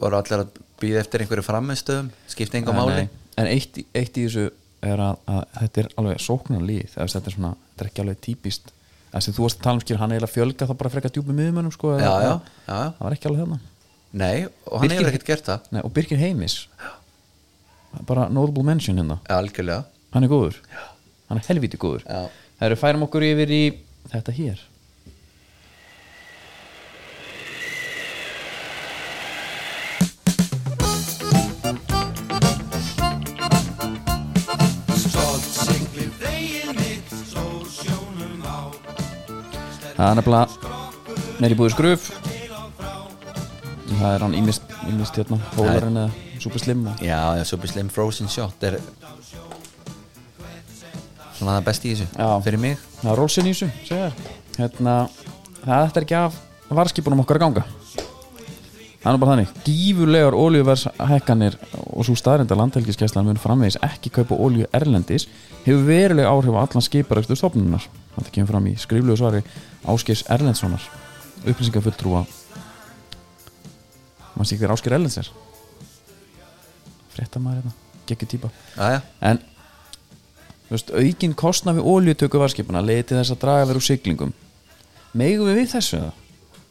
Speaker 5: voru allir að býða eftir einhverju framistöðum skipti
Speaker 4: Nei,
Speaker 5: einhver máli
Speaker 4: nei. en eitt, í- eitt í þessu er að, að þetta er alveg sóknarlið eða þetta er svona, þetta er ekki alveg típist það sem þú varst að tala um skil, hann eiginlega fjölga þá bara frekar djúpum miðumönnum sko, eða-
Speaker 5: Já, já,
Speaker 4: eða-
Speaker 5: já, já.
Speaker 4: það var ekki alveg þarna
Speaker 5: Nei, og hann
Speaker 4: Birkir-
Speaker 5: hefur ekkert gert það
Speaker 4: Nei, og Birgir Heimis bara notable mention hérna
Speaker 5: Algjörlega
Speaker 4: hann er góður, já. hann er helviti góður
Speaker 5: Já.
Speaker 4: það eru færum okkur yfir í þetta hér Það er nefnilega Neri búið skruf Það er hann ímist, ímist hérna Hólarinn eða Super Slim og
Speaker 5: Já, já, Super Slim Frozen Shot er svona það besti í þessu
Speaker 4: Já.
Speaker 5: fyrir mig
Speaker 4: Það er rólsinn í þessu, segja þér Hérna, það þetta er ekki af varskipunum okkar að ganga Það er nú bara þannig Gífurlegar olíuvershækkanir og svo staðrindar landhelgiskeslan mun framvegis ekki kaupa olíu erlendis hefur veruleg áhrif á allan skiparækstu stofnunar Þetta kemur fram í skriflegu svari Áskeirs Erlendssonar upplýsingafulltrúa Man sé hver Ásker Erlends er Frétta maður hérna Gekki típa
Speaker 5: Já, já,
Speaker 4: en þú veist, aukin kostna við óljutöku varskipuna leiði til þess að draga verið úr siglingum megum við við þessu eða?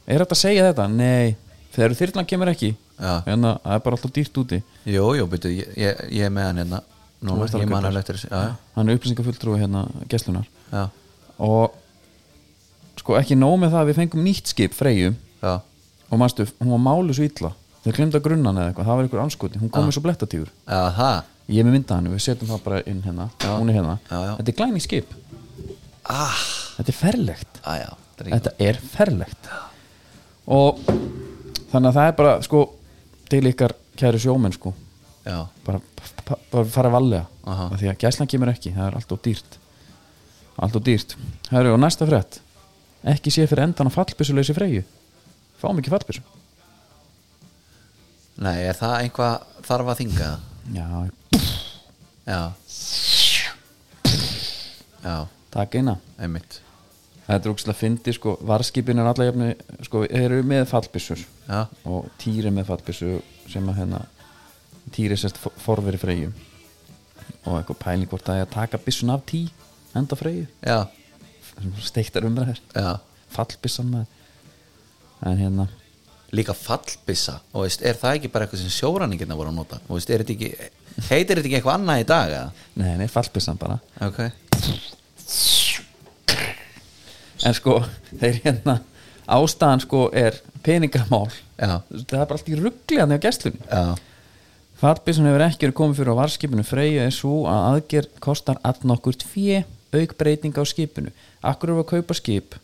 Speaker 4: er þetta að segja þetta? Nei þegar þyrlan kemur ekki
Speaker 5: Já.
Speaker 4: hérna, það er bara alltaf dýrt úti
Speaker 5: jú, jú, byrju, ég, ég, ég er með hann hérna
Speaker 4: Þú
Speaker 5: Núna,
Speaker 4: veist alveg
Speaker 5: ég man
Speaker 4: hver
Speaker 5: alveg eftir þessu Já,
Speaker 4: hann er upplýsingafulltrúi hérna gæslunar
Speaker 5: já, já,
Speaker 4: og sko ekki nóg með það að við fengum nýtt skip freyju
Speaker 5: já,
Speaker 4: og manstu, hún var málu svo illa þau glemda grunnan eða eitthvað, það var einhver anskoti hún komið svo blettatífur
Speaker 5: já, það
Speaker 4: ég er með mynda henni, við setjum það bara inn hérna hún er hérna,
Speaker 5: Já, já.
Speaker 4: þetta er glæni skip
Speaker 5: Ah,
Speaker 4: þetta er ferlegt
Speaker 5: já, já, þetta er ekki-
Speaker 4: þetta er ferlegt og þannig að það er bara sko til ykkar kæru sjómenn sko
Speaker 5: já,
Speaker 4: bara, bara, bara fara valega
Speaker 5: Aha.
Speaker 4: af því að gæslan kemur ekki, það er allt og dýrt allt og dýrt Heru, og næsta frétt, ekki sé fyrir endan á fallbyssuleysi freyju fáum ekki fallbyssu
Speaker 5: nei, er það einhvað þarf að þinga það?
Speaker 4: já,
Speaker 5: Já Já,
Speaker 4: takk eina
Speaker 5: einmitt
Speaker 4: þetta er úkslega fyndi sko, varskipin er allar jafni sko, eru með fallbyssur
Speaker 5: Já,
Speaker 4: og Týri með fattbissu sem að hérna Týri sérst fo- forveri Freyju og eitthvað pæling hvort það er að taka bissun af Tí enda Freyju
Speaker 5: já,
Speaker 4: sem steiktar umræðir
Speaker 5: já
Speaker 4: fallbissan með en hérna
Speaker 5: Líka fallbissa, og veist, er það ekki bara eitthvað sem sjóranningirna voru að nota? Og veist, er þetta ekki, heitir þetta ekki eitthvað annað í dag, eða?
Speaker 4: nei, nei, fallbissan bara
Speaker 5: Ok,
Speaker 4: en sko, þeir hérna ástæðan sko er peningamál
Speaker 5: Já.
Speaker 4: það er bara allt í ruggliðan á gestlunni
Speaker 5: já,
Speaker 4: Fallbyssun hefur ekki verið komið fyrir á varskipinu Freyja er svo að aðgerð kostar all nokkurt fjö auk breyting á skipinu Akkur eru að kaupa skip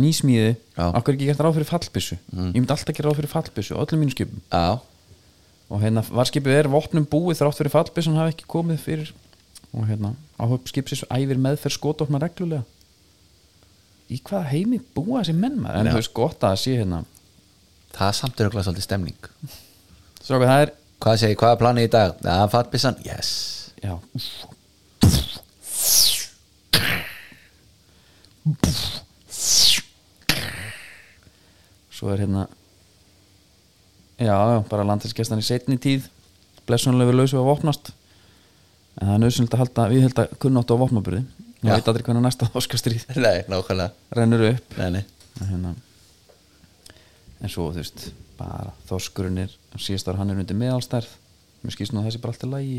Speaker 4: nýsmíði
Speaker 5: Já. Mm.
Speaker 4: Akkur er ekki gert ráð fyrir fallbyssu Ég myndi alltaf gera ráð fyrir fallbyssu á öllum mínu skipum
Speaker 5: já,
Speaker 4: og hérna varskipið er vopnum búið þrátt fyrir fallbyssun hafi ekki komið fyrir og hérna áhöf skipsins æfir meðferð skotofna reglulega Í hvaða heimi búa þessi menn maður en
Speaker 5: Já.
Speaker 4: þú veist gott að það sé hérna
Speaker 5: það er samt öruglega svolítið stemning
Speaker 4: Stráka, það er
Speaker 5: hvað segi, hvað er planið í dag? það er fattbissan, yes
Speaker 4: Já Svo er hérna Já, já, bara landhelskestan í setni tíð blessunlega við lausu að vopnast en það er nöðsynlegt að halda við held að kunnáttu á vopnaburði ég
Speaker 5: Já.
Speaker 4: veit aldrei hvernig næsta þáskastrýð
Speaker 5: nei, nákvæmlega
Speaker 4: rennur upp
Speaker 5: nei, nei.
Speaker 4: en, hérna, en svo þú veist bara þorskurinn er síðast ára hann er undir meðalstærð mér skýrst nú að þessi bara allt er lægi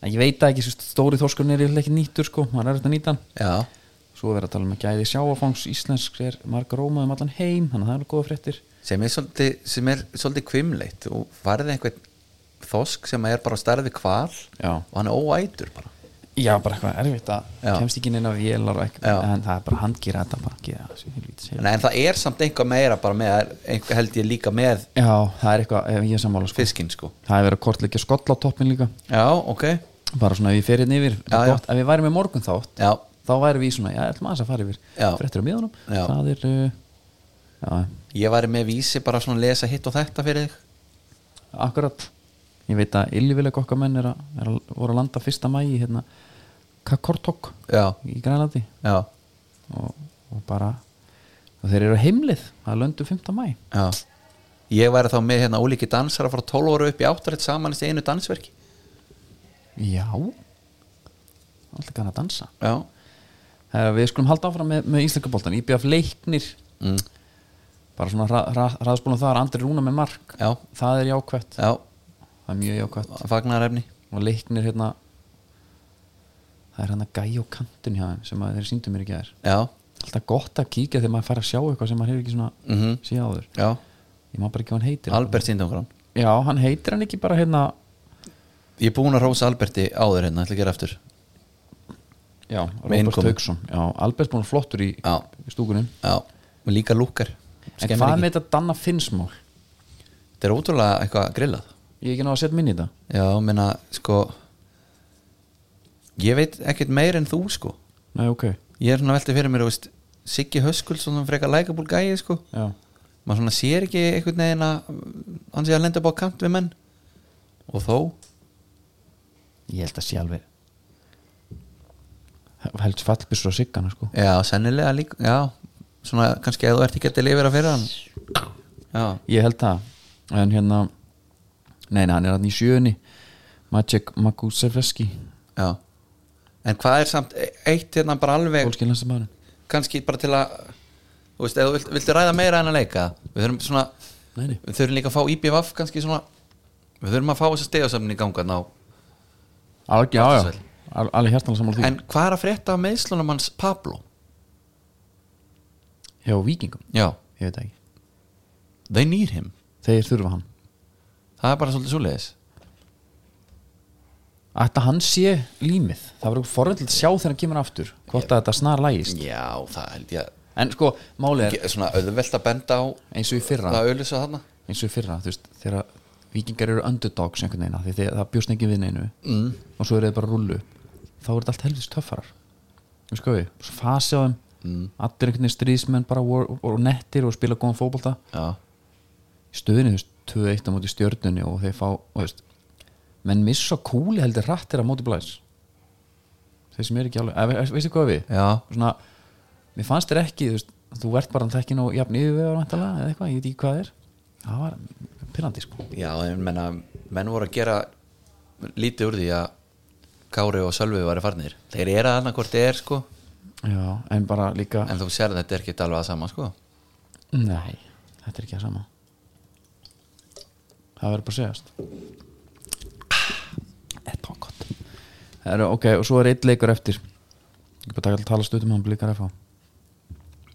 Speaker 4: en ég veit það ekki, svo stóri þorskurinn er yfirleitt ekki nýttur sko, hann er eftir að nýta hann
Speaker 5: já,
Speaker 4: svo er verið að tala um að gæði sjáafangs íslensk er marga rómað um allan heim þannig að það eru góða fréttir
Speaker 5: sem er svolítið, sem er svolítið kvimleitt og farið einhvern þosk sem er bara starfið kval
Speaker 4: Já.
Speaker 5: og hann er óætur bara
Speaker 4: já, bara eitthvað erfitt að
Speaker 5: Já.
Speaker 4: kemst ekki neina vélar og ekki,
Speaker 5: Já.
Speaker 4: en það er bara handgýra þetta bara ekki það sé helvítis heim.
Speaker 5: en, en það er samt einhvað meira bara með einhver held ég líka með
Speaker 4: já, það er eitthvað, ef ég er sammála sko.
Speaker 5: fiskinn sko
Speaker 4: það er verið að kortleikja skoll á toppin líka
Speaker 5: já, ok,
Speaker 4: bara svona ef ég fer hérna yfir já,
Speaker 5: Já, já.
Speaker 4: gott, ef ég væri með morgun þátt
Speaker 5: já,
Speaker 4: þá væri við svona, já, ætlum aðeins að fara yfir
Speaker 5: Já.
Speaker 4: fréttir á miðunum,
Speaker 5: Já.
Speaker 4: það er uh, já,
Speaker 5: ég væri með vísi bara svona að lesa hitt og þetta fyrir þig
Speaker 4: akkurat ég veit að illivileg okkar menn er að, er að voru að landa fyrsta mægi hérna, Kakortok
Speaker 5: já,
Speaker 4: í Grænlandi
Speaker 5: já,
Speaker 4: og, og bara og þeir eru á heimlið að löndu 5. mæ
Speaker 5: já ég væri þá með hérna ólíki dansara frá 12 ára upp í áttarætt saman í einu dansverki
Speaker 4: já alltaf kannar að dansa
Speaker 5: já,
Speaker 4: Her, við skulum halda áfram með, með Íslakaboltan IBF leiknir
Speaker 5: mm.
Speaker 4: bara svona ra, ra, raðspólum þar, Andri Rúna með mark
Speaker 5: Já.
Speaker 4: það er jákvætt,
Speaker 5: já,
Speaker 4: það er mjög jákvætt
Speaker 5: fagnarefni
Speaker 4: og leiknir hérna það er hann að gæja á kantun hjá þeim sem að þeir síndu mér ekki að
Speaker 5: já,
Speaker 4: alltaf gott að kíkja þegar maður fær að sjá eitthvað sem maður hefur ekki svona mm
Speaker 5: Mhm.
Speaker 4: síða áður
Speaker 5: já,
Speaker 4: ég má bara ekki hvað hann heitir
Speaker 5: Albert Sindungrán
Speaker 4: já, hann heitir hann ekki bara hérna
Speaker 5: ég er búin að rósa Alberti áður hérna, ætla að gera aftur
Speaker 4: já,
Speaker 5: Með
Speaker 4: Robert
Speaker 5: innkomu.
Speaker 4: Hauksson já, Albert búin flottur í,
Speaker 5: Já.
Speaker 4: í stúkunum
Speaker 5: já, og líka lúkar
Speaker 4: en hvað með þetta Danna Finnsmál
Speaker 5: þetta er ótrúlega eitthvað grillað
Speaker 4: ég hef ekki náðu að setja minni í þetta
Speaker 5: já, menna, sko ég veit ekkert meir en þú sko
Speaker 4: nei, ok,
Speaker 5: ég er svona veltið fyrir mér, þú veist Siggi Höskuls, svona frekar lækabúl gæi sko
Speaker 4: já
Speaker 5: maður svona sér ekki einhvern veginn að hann sé að lenda upp á kant við menn og þó
Speaker 4: ég held að sé alveg helst fallbissur á siggana sko
Speaker 5: já, sennilega líka, já svona kannski að þú ert ekki getið lifir að fyrir hann já,
Speaker 4: ég held það en hérna nei, nei, hann er hann í sjöunni Maciek Makusevski
Speaker 5: já en hvað er samt, eitt hérna bara alveg
Speaker 4: fólkilansamæðurinn
Speaker 5: kannski bara til að þú veist, eða þú vilt, viltu ræða meira en að leika við þurfum svona,
Speaker 4: Nei, nei.
Speaker 5: við þurfum líka að fá IBVF kannski svona, við þurfum að fá þess að stegasamni ganga ná,
Speaker 4: alveg, já, já,
Speaker 5: Sæll.
Speaker 4: Al- alveg hjartanlega sammála því
Speaker 5: en hvað er að frétta af meðslunum hans Pablo?
Speaker 4: hjá vikingum,
Speaker 5: Já,
Speaker 4: ég veit það ekki
Speaker 5: they need him
Speaker 4: þeir þurfa hann,
Speaker 5: það er bara svolítið svoleiðis
Speaker 4: ætta hann sé límið það var eitthvað forröndilegt að sjá þegar hann kemur aftur hvort að þetta snar lægist
Speaker 5: Já, það held ég
Speaker 4: en sko, málið er
Speaker 5: að svona auðvelt að benda á
Speaker 4: eins og í fyrra
Speaker 5: það auðlýsa þarna
Speaker 4: eins og í fyrra, þú veist, þegar vikingar eru underdogs einhvern veginn af því þegar það bjóst ekki við neinu mm. og svo eru þeir bara að rullu upp, þá eru þetta allt helvist töffarar við sko við, svo fasi á þeim mm. allir einhvern veginn stríðsmenn bara war, og nettir og spila góðan fótbolta
Speaker 5: Já,
Speaker 4: í stöðinu, þú veist, 2-1 á móti stjörnunni og þeir fá, og þú veist menn missa kúli heldur rattir á móti blæs þeir sem er ekki alveg, eða, veistu hvað við
Speaker 5: já,
Speaker 4: svona, mér fannst þér ekki þú, veist, þú ert bara ekki nóg jafn yfirvegar væntanlega, eða eitthvað, ég veit ekki hvað það er það var pyrrandi sko
Speaker 5: já en menna, menn voru að gera lítið úr því að Kári og Sölvi væri farnir Þeir eru að annað hvort þið er sko
Speaker 4: já, en bara líka
Speaker 5: En þú sér að þetta er ekki alveg að sama sko
Speaker 4: nei, þetta er ekki það sama það verður bara að segjast
Speaker 5: Ah,
Speaker 4: þetta var gott það eru, ok, og svo er eitt leikur eftir ég er bara að taka að tala stundum um hann blikar FH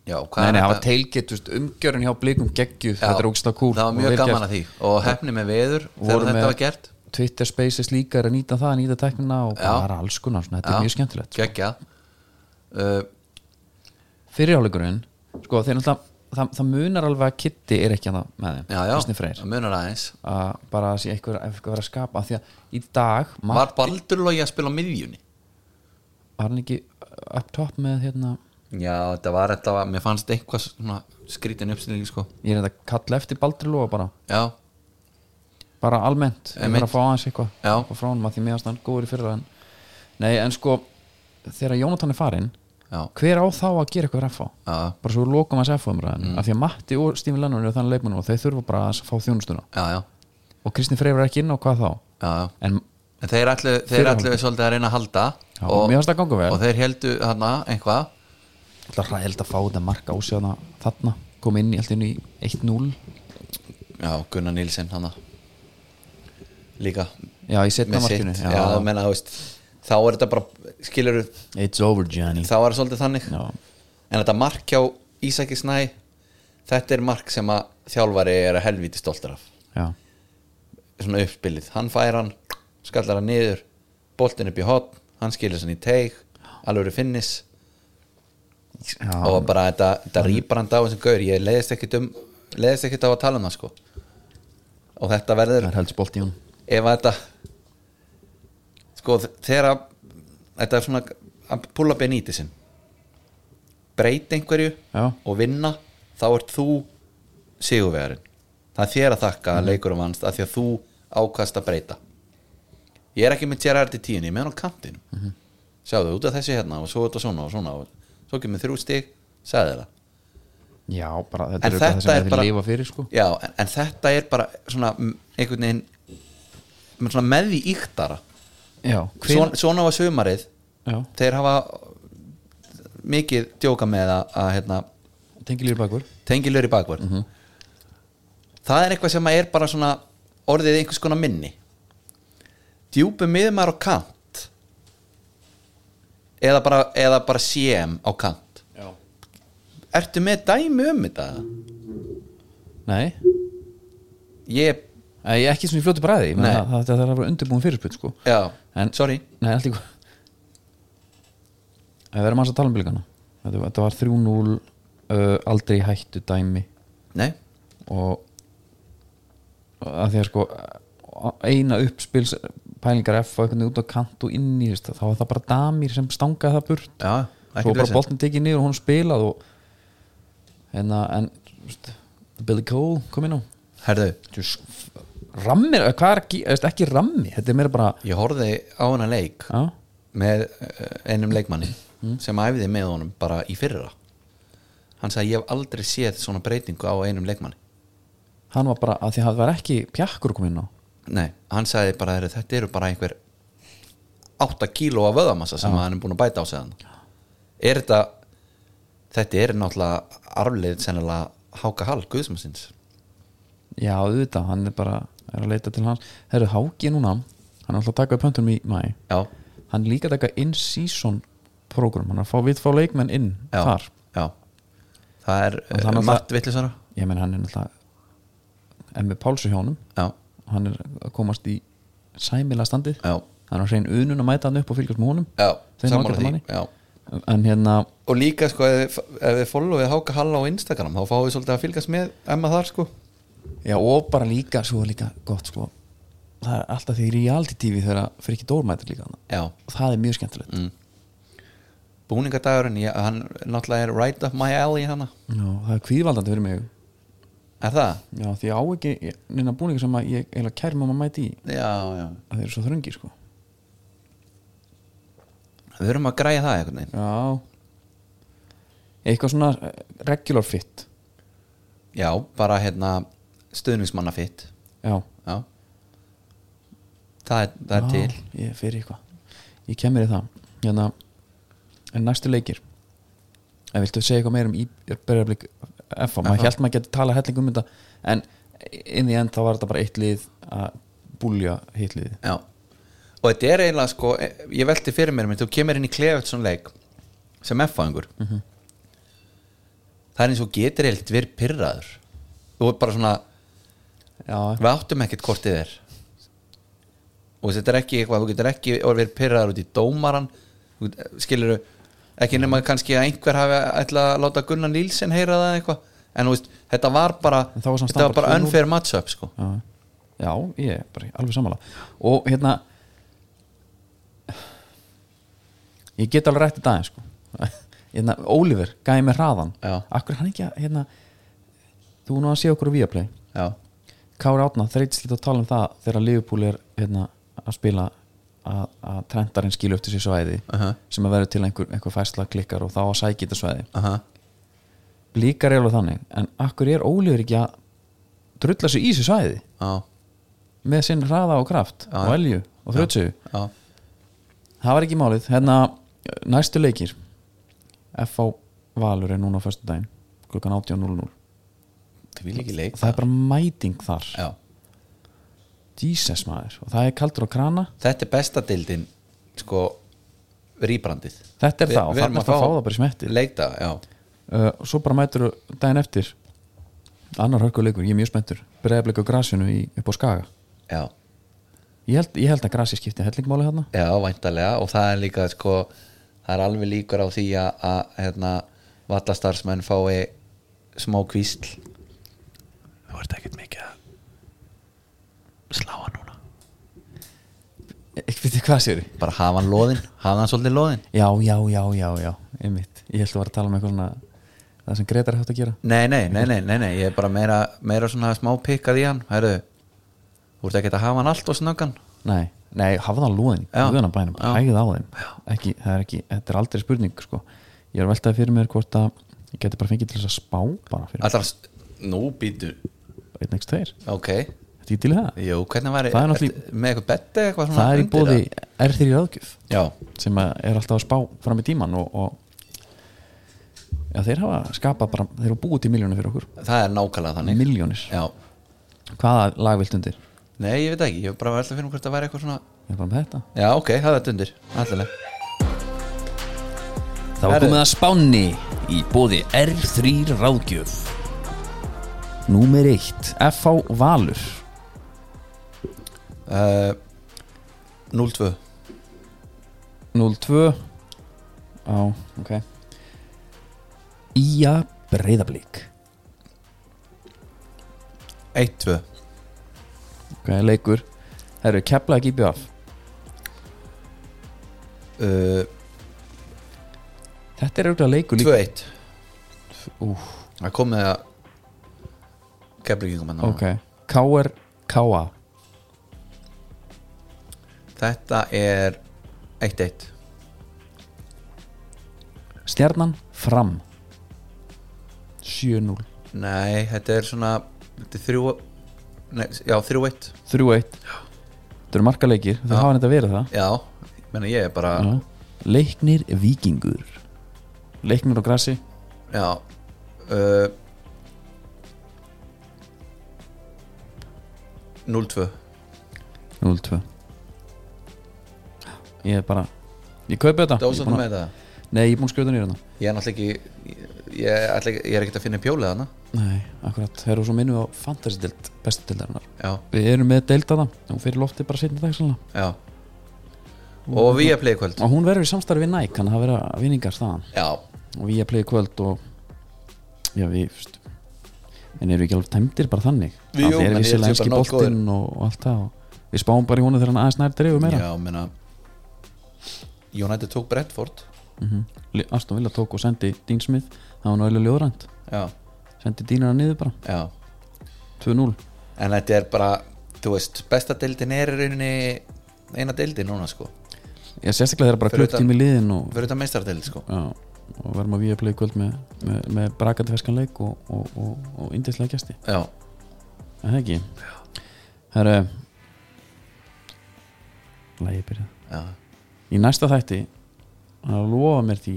Speaker 5: Já, hvað
Speaker 4: nei, nei,
Speaker 5: er
Speaker 4: það var
Speaker 5: þetta?
Speaker 4: teilgett, þú veist, umgjörun hjá blikum geggjuð,
Speaker 5: Já,
Speaker 4: þetta er ógst að kúl
Speaker 5: Það var mjög gaman að því og hefni með veður þegar
Speaker 4: Voru
Speaker 5: þetta
Speaker 4: með-
Speaker 5: var gert
Speaker 4: Twitter Spaces líka er að nýta það, nýta teknina og
Speaker 5: Já.
Speaker 4: bara alls konar, svona, þetta
Speaker 5: Já.
Speaker 4: er mjög skemmtilegt
Speaker 5: Gekkja uh,
Speaker 4: fyrirháleikurinn, sko þeir náttúrulega það, það munar alveg að Kitty er ekki að það með þeim
Speaker 5: Já, já,
Speaker 4: Kristni Freyr
Speaker 5: það munar aðeins
Speaker 4: að bara að sé eitthvað, eitthvað verið að skapa af því að í dag
Speaker 5: Var
Speaker 4: Mart,
Speaker 5: Baldur logi að spila á miðjunni?
Speaker 4: var hann ekki up top með hérna
Speaker 5: Já, þetta var alltaf að mér fannst eitthvað svona skrítin uppstilling sko.
Speaker 4: ég er þetta að kalla eftir Baldri Lóa bara
Speaker 5: Já,
Speaker 4: bara almennt, ég
Speaker 5: Einmitt.
Speaker 4: verð að fá aðeins eitthvað
Speaker 5: Já.
Speaker 4: Fá frá honum að því mér ástand góður í fyrra en... nei en sko þegar Jónatan er farinn
Speaker 5: já,
Speaker 4: hver á þá að gera eitthvað raffa
Speaker 5: já, Mm.
Speaker 4: bara svo við lokum að sefa umræðan af því að Matti og Stífi Lennon eru þannig leikmennum og þeir þurfa bara að fá þjónustuna
Speaker 5: já, já,
Speaker 4: og Kristinn Freyr er ekki inn á hvað þá
Speaker 5: já, já.
Speaker 4: en
Speaker 5: En þeir ætlu, þeir
Speaker 4: Fyrir
Speaker 5: ætlu svolítið að reyna að halda
Speaker 4: Já, mér fannst það ganga vel.
Speaker 5: Og þeir heldu hana einhvað
Speaker 4: alltaf ræðild að fá þetta marka á sig þarna- þarna kom inn í allt inn í 1-0
Speaker 5: Já, Gunnar Nílsson hana Líka
Speaker 4: já í setna
Speaker 5: með sitt
Speaker 4: markinu
Speaker 5: Já, já menna, þú veist Þá er þetta bara, skilur
Speaker 4: it's over Johnny
Speaker 5: Þá er svolítið þannig
Speaker 4: já,
Speaker 5: En þetta mark hjá Ísaki Snæ Þetta er mark sem að þjálfari er að helvíti stoltur af
Speaker 4: já,
Speaker 5: svona uppspilið, hann fær hann skallar hann niður, boltin upp í hotn hann skilur hann í teig alveg finnis
Speaker 4: já.
Speaker 5: og bara þetta, þetta rýpar hann á þessum gaur, ég leiðist ekkit um leiðist ekkit á að tala um það sko og þetta verður,
Speaker 4: það er helst bolt í hún
Speaker 5: ef að þetta sko þegar að þetta er svona að púla bein í þessum breyta einhverju
Speaker 4: Já.
Speaker 5: og vinna þá ert þú sigurvegarinn það er þér að þakka að leikurum vannst af því að þú ákast að breyta ég er ekki með Gerard í tíunni, ég er með hann á kantinu sjáðu, út af þessu hérna og svo út af svona og svona og svo kemur þrjú stig, sagði þér það
Speaker 4: já, bara þetta
Speaker 5: En
Speaker 4: er þetta
Speaker 5: þetta
Speaker 4: það sem
Speaker 5: er
Speaker 4: þeir
Speaker 5: bara-
Speaker 4: lifa fyrir sko
Speaker 5: Já, en, en þetta er bara svona mm, einhvern veginn með svona með því íktara
Speaker 4: já,
Speaker 5: Svon,
Speaker 4: hver,
Speaker 5: svona var sumarið
Speaker 4: já,
Speaker 5: þeir hafa mikið djóka með að, að hérna,
Speaker 4: tengilýr bakur
Speaker 5: tengilur í bakvörð
Speaker 4: Mhm.
Speaker 5: það er eitthvað sem er bara svona orðið einhvers konar minni djúpi miðmaður á kant eða bara, eða bara CM á kant
Speaker 4: já.
Speaker 5: ertu með dæmi um þetta?
Speaker 4: nei,
Speaker 5: ég,
Speaker 4: Æ, ekki svona í fljótu bræði ég meina
Speaker 5: Nei.
Speaker 4: það, það, það er að vera undirbúin fyrirspil sko
Speaker 5: já,
Speaker 4: En-
Speaker 5: sorry
Speaker 4: Nei, allt í góð Það verðum aðeins að tala um blikana Þetta, þetta var 3-0 uh, aldrei hættu dæmi
Speaker 5: nei,
Speaker 4: og og að því að sko eina uppspils pælingar F og einhvern veginn út á kant og inn í þú veist, þá var það bara damir sem stangaði það burt
Speaker 5: já,
Speaker 4: svo bara
Speaker 5: vesen.
Speaker 4: boltin tekið niður og hún spilað og hérna en þú veist, Billy Cole kom inn á
Speaker 5: herðu,
Speaker 4: Þú veist, rammir, hvað er ekki, þú veist, ekki rammi þetta er meira bara
Speaker 5: ég horfði á hana leik
Speaker 4: já, Mm.
Speaker 5: með eh, einum leikmanni sem æfiði með honum bara í fyrra hann sagði ég hef aldrei séð svona breytingu á einum leikmanni
Speaker 4: hann var bara að því að það var ekki pjakkur kom inn á
Speaker 5: Nei, hann sagði bara "Heyrðu, þetta eru bara einhver 8 kíló af vöðamassa sem hann er búin að bæta á sig hann Er þetta þetta er náttúrulega arfleið sennilega háka hall guðsmansins
Speaker 4: já auðvitað, hann er bara er að leita til hans, herru Háki núna hann er alltaf að taka upp höndunum í mæ
Speaker 5: Já,
Speaker 4: hann er líka að taka in-season program, hann er að fá, við fá leikmenn inn
Speaker 5: já,
Speaker 4: þar,
Speaker 5: já Það er
Speaker 4: Og þannig
Speaker 5: uh,
Speaker 4: að
Speaker 5: margt vitlisara
Speaker 4: ég menn hann er alltaf emmi Pálsu hjá honum
Speaker 5: Já,
Speaker 4: hann er að komast í sæmilega standið
Speaker 5: já,
Speaker 4: hann er að hrein unun að mæta hann upp og fylgjast með honum
Speaker 5: já,
Speaker 4: Þeim
Speaker 5: sammála
Speaker 4: ágæta
Speaker 5: því
Speaker 4: manni.
Speaker 5: já.
Speaker 4: en hérna,
Speaker 5: Og líka sko ef, þið- ef þið followið háka hall á Instagram þá fáið þið svolítið að fylgast með emma þar sko
Speaker 4: já og bara líka svo er líka gott sko það er alltaf því reality tv þegar fyrir ekki dórmætir líka hann
Speaker 5: Já, Mm.
Speaker 4: og það er mjög skemmtilegt
Speaker 5: búningadagurinn ég, hann náttúrulega er right up my alley hana
Speaker 4: já, það er kvíðvaldandi fyrir mig
Speaker 5: Er það?
Speaker 4: Já, því ég á ekki ég- neina búningar sem að ég eiginlega kærum um að maður mæti í
Speaker 5: Já, já
Speaker 4: að þeir eru svo þröngir sko
Speaker 5: Við erum að græja það einhvern veginn
Speaker 4: Já Eitthvað svona eh, regular fit
Speaker 5: Já, bara hérna stuðningsmanna fitt
Speaker 4: Já,
Speaker 5: Já Það er, það er
Speaker 4: Já,
Speaker 5: til
Speaker 4: Ég fyrir eitthvað Ég kemur í það Hérna, en næstu leikir En viltu segja eitthvað meira um Íbjörnbjörnblik FA, maður held maður geti talað helling um þetta en inn í end þá var þetta bara eitt lið að búlja hitt liðið
Speaker 5: Já Og þetta er eiginlega sko eh, Ég velti fyrir mér minn Þú kemur inn í Klefetsson leik Sem F-fæðingur
Speaker 4: Mhm.
Speaker 5: Það er eins og getur eilt verið pyrraður Þú er bara svona
Speaker 4: Já,
Speaker 5: Við áttum ekkert hvort þið er Og þetta er ekki eitthvað Þú getur ekki verið pyrraður út í dómaran Þú get- e, Skilurðu Ekki nema kannski að einhver hafi ætlað að láta Gunnar Nílsen heyra það eða eitthvað En þú veist, þetta var bara
Speaker 4: En þá var samt
Speaker 5: Þetta var
Speaker 4: bara
Speaker 5: bara
Speaker 4: 3-0.
Speaker 5: unfair matchup sko
Speaker 4: já, já ég er bara alveg sammála og hérna ég get alveg rætt þetta aðeins sko. hérna, Oliver, gæði með hraðan
Speaker 5: Já.
Speaker 4: akkur er hann ekki að hérna, þú nú að sé okkur á Viaplay
Speaker 5: já,
Speaker 4: Kári Átna þreytist lítið að tala um það þegar Liverpool er hérna, að spila að, að trendarinn skilu upp til sér svæði
Speaker 5: Aha.
Speaker 4: sem að verður til einhver, einhver fæsla klikkar og þá að sækja þetta svæði
Speaker 5: aha
Speaker 4: blíkar er alveg þannig, en akkur er Ólífur ekki að drulla sér í sér svæði
Speaker 5: já,
Speaker 4: með sinn hraða og kraft og elju og þrjótsu
Speaker 5: já,
Speaker 4: það var ekki málið, hérna næstu leikir F.A. Valur er núna á föstu daginn klukkan 18.00
Speaker 5: það vil ekki leik
Speaker 4: það er bara mæting þar
Speaker 5: já.
Speaker 4: Jesus maður, og það er kaldur á krana
Speaker 5: þetta er besta dildin sko, rýbrandið
Speaker 4: Þetta er það, og þarna ertu að fá það bara í smettið.
Speaker 5: leikta, já,
Speaker 4: uh, svo bara mætur daginn eftir annar hörkuleikur, ég er mjög spenntur bregðarleik á grasinu í, upp á skaga
Speaker 5: já,
Speaker 4: ég held, ég held að grasi skipti hellingmáli hérna
Speaker 5: já, væntalega og það er líka, sko það er alveg líkur á því að, að hérna, vallastarsmenn fái smá kvísl það vart ekkert mikið að slá hann núna E,
Speaker 4: ekki fyrir hvað sér
Speaker 5: bara hafa hann loðin, hafa hann svolítið loðin
Speaker 4: já, já, já, já, já, einmitt ég held að vera að tala um eitthvað svona það sem Gretar hægt að gera
Speaker 5: Nei, nei, nei, nei, nei, nei, ég er bara meira, meira svona smá pikkað í hann Hæru, þú ert ekki að hafa hann allt og snöggan
Speaker 4: nei, nei, hafa það lúðin
Speaker 5: Já.
Speaker 4: lúðina bænum,
Speaker 5: Já.
Speaker 4: hægið á þeim ekki, það er ekki, þetta er aldrei spurning sko. ég er veltaði fyrir mér hvort að ég geti bara fengið til þess að spá bara fyrir
Speaker 5: Alltaf, nú býtu
Speaker 4: einn ekst tveir,
Speaker 5: Ok,
Speaker 4: þetta ekki til í það
Speaker 5: jú, hvernig var
Speaker 4: Það er náttúrulega-
Speaker 5: ertu Með eitthvað betta eitthvað svona
Speaker 4: það er í
Speaker 5: undir
Speaker 4: bóði
Speaker 5: það?
Speaker 4: R3 ráðgjöf
Speaker 5: Já,
Speaker 4: sem að er alltaf að spá fram í tíman og, og já, þeir hafa skapað bara, þeir hafa búið til miljónir fyrir okkur
Speaker 5: það er nákvæmlega þannig
Speaker 4: miljónir,
Speaker 5: Já,
Speaker 4: hvaða lag vilt undir ég
Speaker 5: nei, ég veit ekki, ég er bara að velta að finna hvort það væri eitthvað svona
Speaker 4: er bara með þetta
Speaker 5: Já, ok, það er þetta undir, allilega
Speaker 4: Það var
Speaker 5: Herðu.
Speaker 4: komið að spáni í bóði R3 ráðgjöf Númer 1 FH Valur
Speaker 5: uh, 0-2
Speaker 4: 02 Á, ok Ía Breiðablík
Speaker 5: 1-2
Speaker 4: Ok, leikur Herru, kepla ekki í bjöf
Speaker 5: uh,
Speaker 4: Þetta er auðvitað leikur líka
Speaker 5: 2-1
Speaker 4: Úf,
Speaker 5: Það kom með að Keflingum hann
Speaker 4: ok KR KA
Speaker 5: Þetta er 1-1
Speaker 4: Stjarnan Fram 7-0
Speaker 5: Nei, þetta er svona þetta er þrjú nei, Já, þrjú eitt
Speaker 4: 3-1 Þetta eru markaleikir, þau
Speaker 5: Já.
Speaker 4: hafa þetta verið það
Speaker 5: Já, ég meina ég er bara
Speaker 4: Já. Leiknir Víkingur Leiknir á grassi
Speaker 5: Já uh, 0-2
Speaker 4: 0-2 Ég er bara Ég kaupi þetta Ég er búinn
Speaker 5: Dósanum
Speaker 4: að-
Speaker 5: með það
Speaker 4: Nei, ég er búin að skjóta nýra þetta hérna.
Speaker 5: Ég er náttúrulega ekki ég- Ég, ætla ekki, ég er ekkert að finna pjólið hana
Speaker 4: Nei, akkurat, þeir eru svo minnum á fantasy-delt bestu deildarinnar
Speaker 5: Já,
Speaker 4: Við erum með deild að það Hún fyrir loftið bara setna dag sannlega
Speaker 5: já Og við að playa kvöld
Speaker 4: Og hún verður í samstarfi við Nike Þannig að það vera vinningar staðan
Speaker 5: Já,
Speaker 4: Og við að playa í kvöld og Já, við fyrst En eru ekki alveg tæmdir bara þannig
Speaker 5: Við, jú,
Speaker 4: Það er
Speaker 5: menn, ég
Speaker 4: vissilega
Speaker 5: held ég
Speaker 4: enski
Speaker 5: bara nógu
Speaker 4: boltinn og, og allt það og Við spáum bara í honum þegar hann aðeins nær dreifum meira
Speaker 5: já, meina United tók Brentford
Speaker 4: Le- Aston Villa tók og sendi Dean Smith það var náttúrulega ljóðrænt
Speaker 5: Já,
Speaker 4: sendi Deanara niður bara,
Speaker 5: já
Speaker 4: 2-0
Speaker 5: En þetta er bara, þú veist, besta deildin er í rauninni eina deildin núna sko
Speaker 4: ég sérstaklega þeirra bara
Speaker 5: Fyrir
Speaker 4: klukkt í mig liðin og,
Speaker 5: Fyrir þetta meistardeild sko
Speaker 4: já, og verðum að við að playa í kvöld með, með, með brakandi ferskan leik og, og, og, og indislega gæsti
Speaker 5: Já,
Speaker 4: en það ekki herru lægi byrja
Speaker 5: já,
Speaker 4: í næsta þætti hann að lofa mér því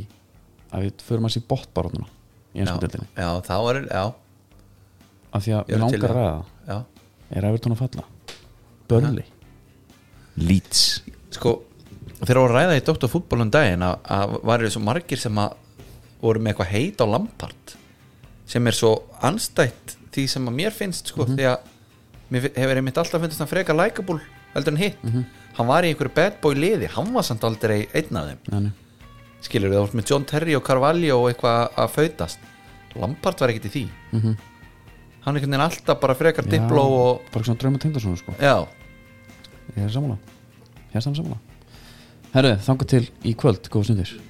Speaker 4: að við förum að sé bóttbarónuna í
Speaker 5: já,
Speaker 4: einsku deildinni
Speaker 5: já, þá er, já,
Speaker 4: af því að
Speaker 5: Ég er
Speaker 4: við
Speaker 5: til í
Speaker 4: langar að
Speaker 5: það.
Speaker 4: ræða það.
Speaker 5: já
Speaker 4: er Evertón að falla Börli Leeds
Speaker 5: Sko, þegar voru að ræða í Dr. Fútbol um daginn að, að varir svo margir sem að voru með eitthvað heit á Lampard sem er svo anstætt því sem að mér finnst
Speaker 4: Mhm.
Speaker 5: sko því að mér fi- hefur einmitt alltaf finnst hann frekar likeable heldur en hitt
Speaker 4: Mhm.
Speaker 5: hann var í einhverju bad boy liði hann var samt aldrei einn af þeim
Speaker 4: Nei, nei.
Speaker 5: skilur við, það var með John Terry og Carvalho og eitthvað að fautast Lampard var ekkert í því -hmm. hann er einhvern veginn alltaf bara frekar
Speaker 4: Mhm. Já,
Speaker 5: dipló og
Speaker 4: bara svona drauma tengdarsonu sko
Speaker 5: já,
Speaker 4: ég er sammála ég er saman sammála herru, þanga til í kvöld, góða stundir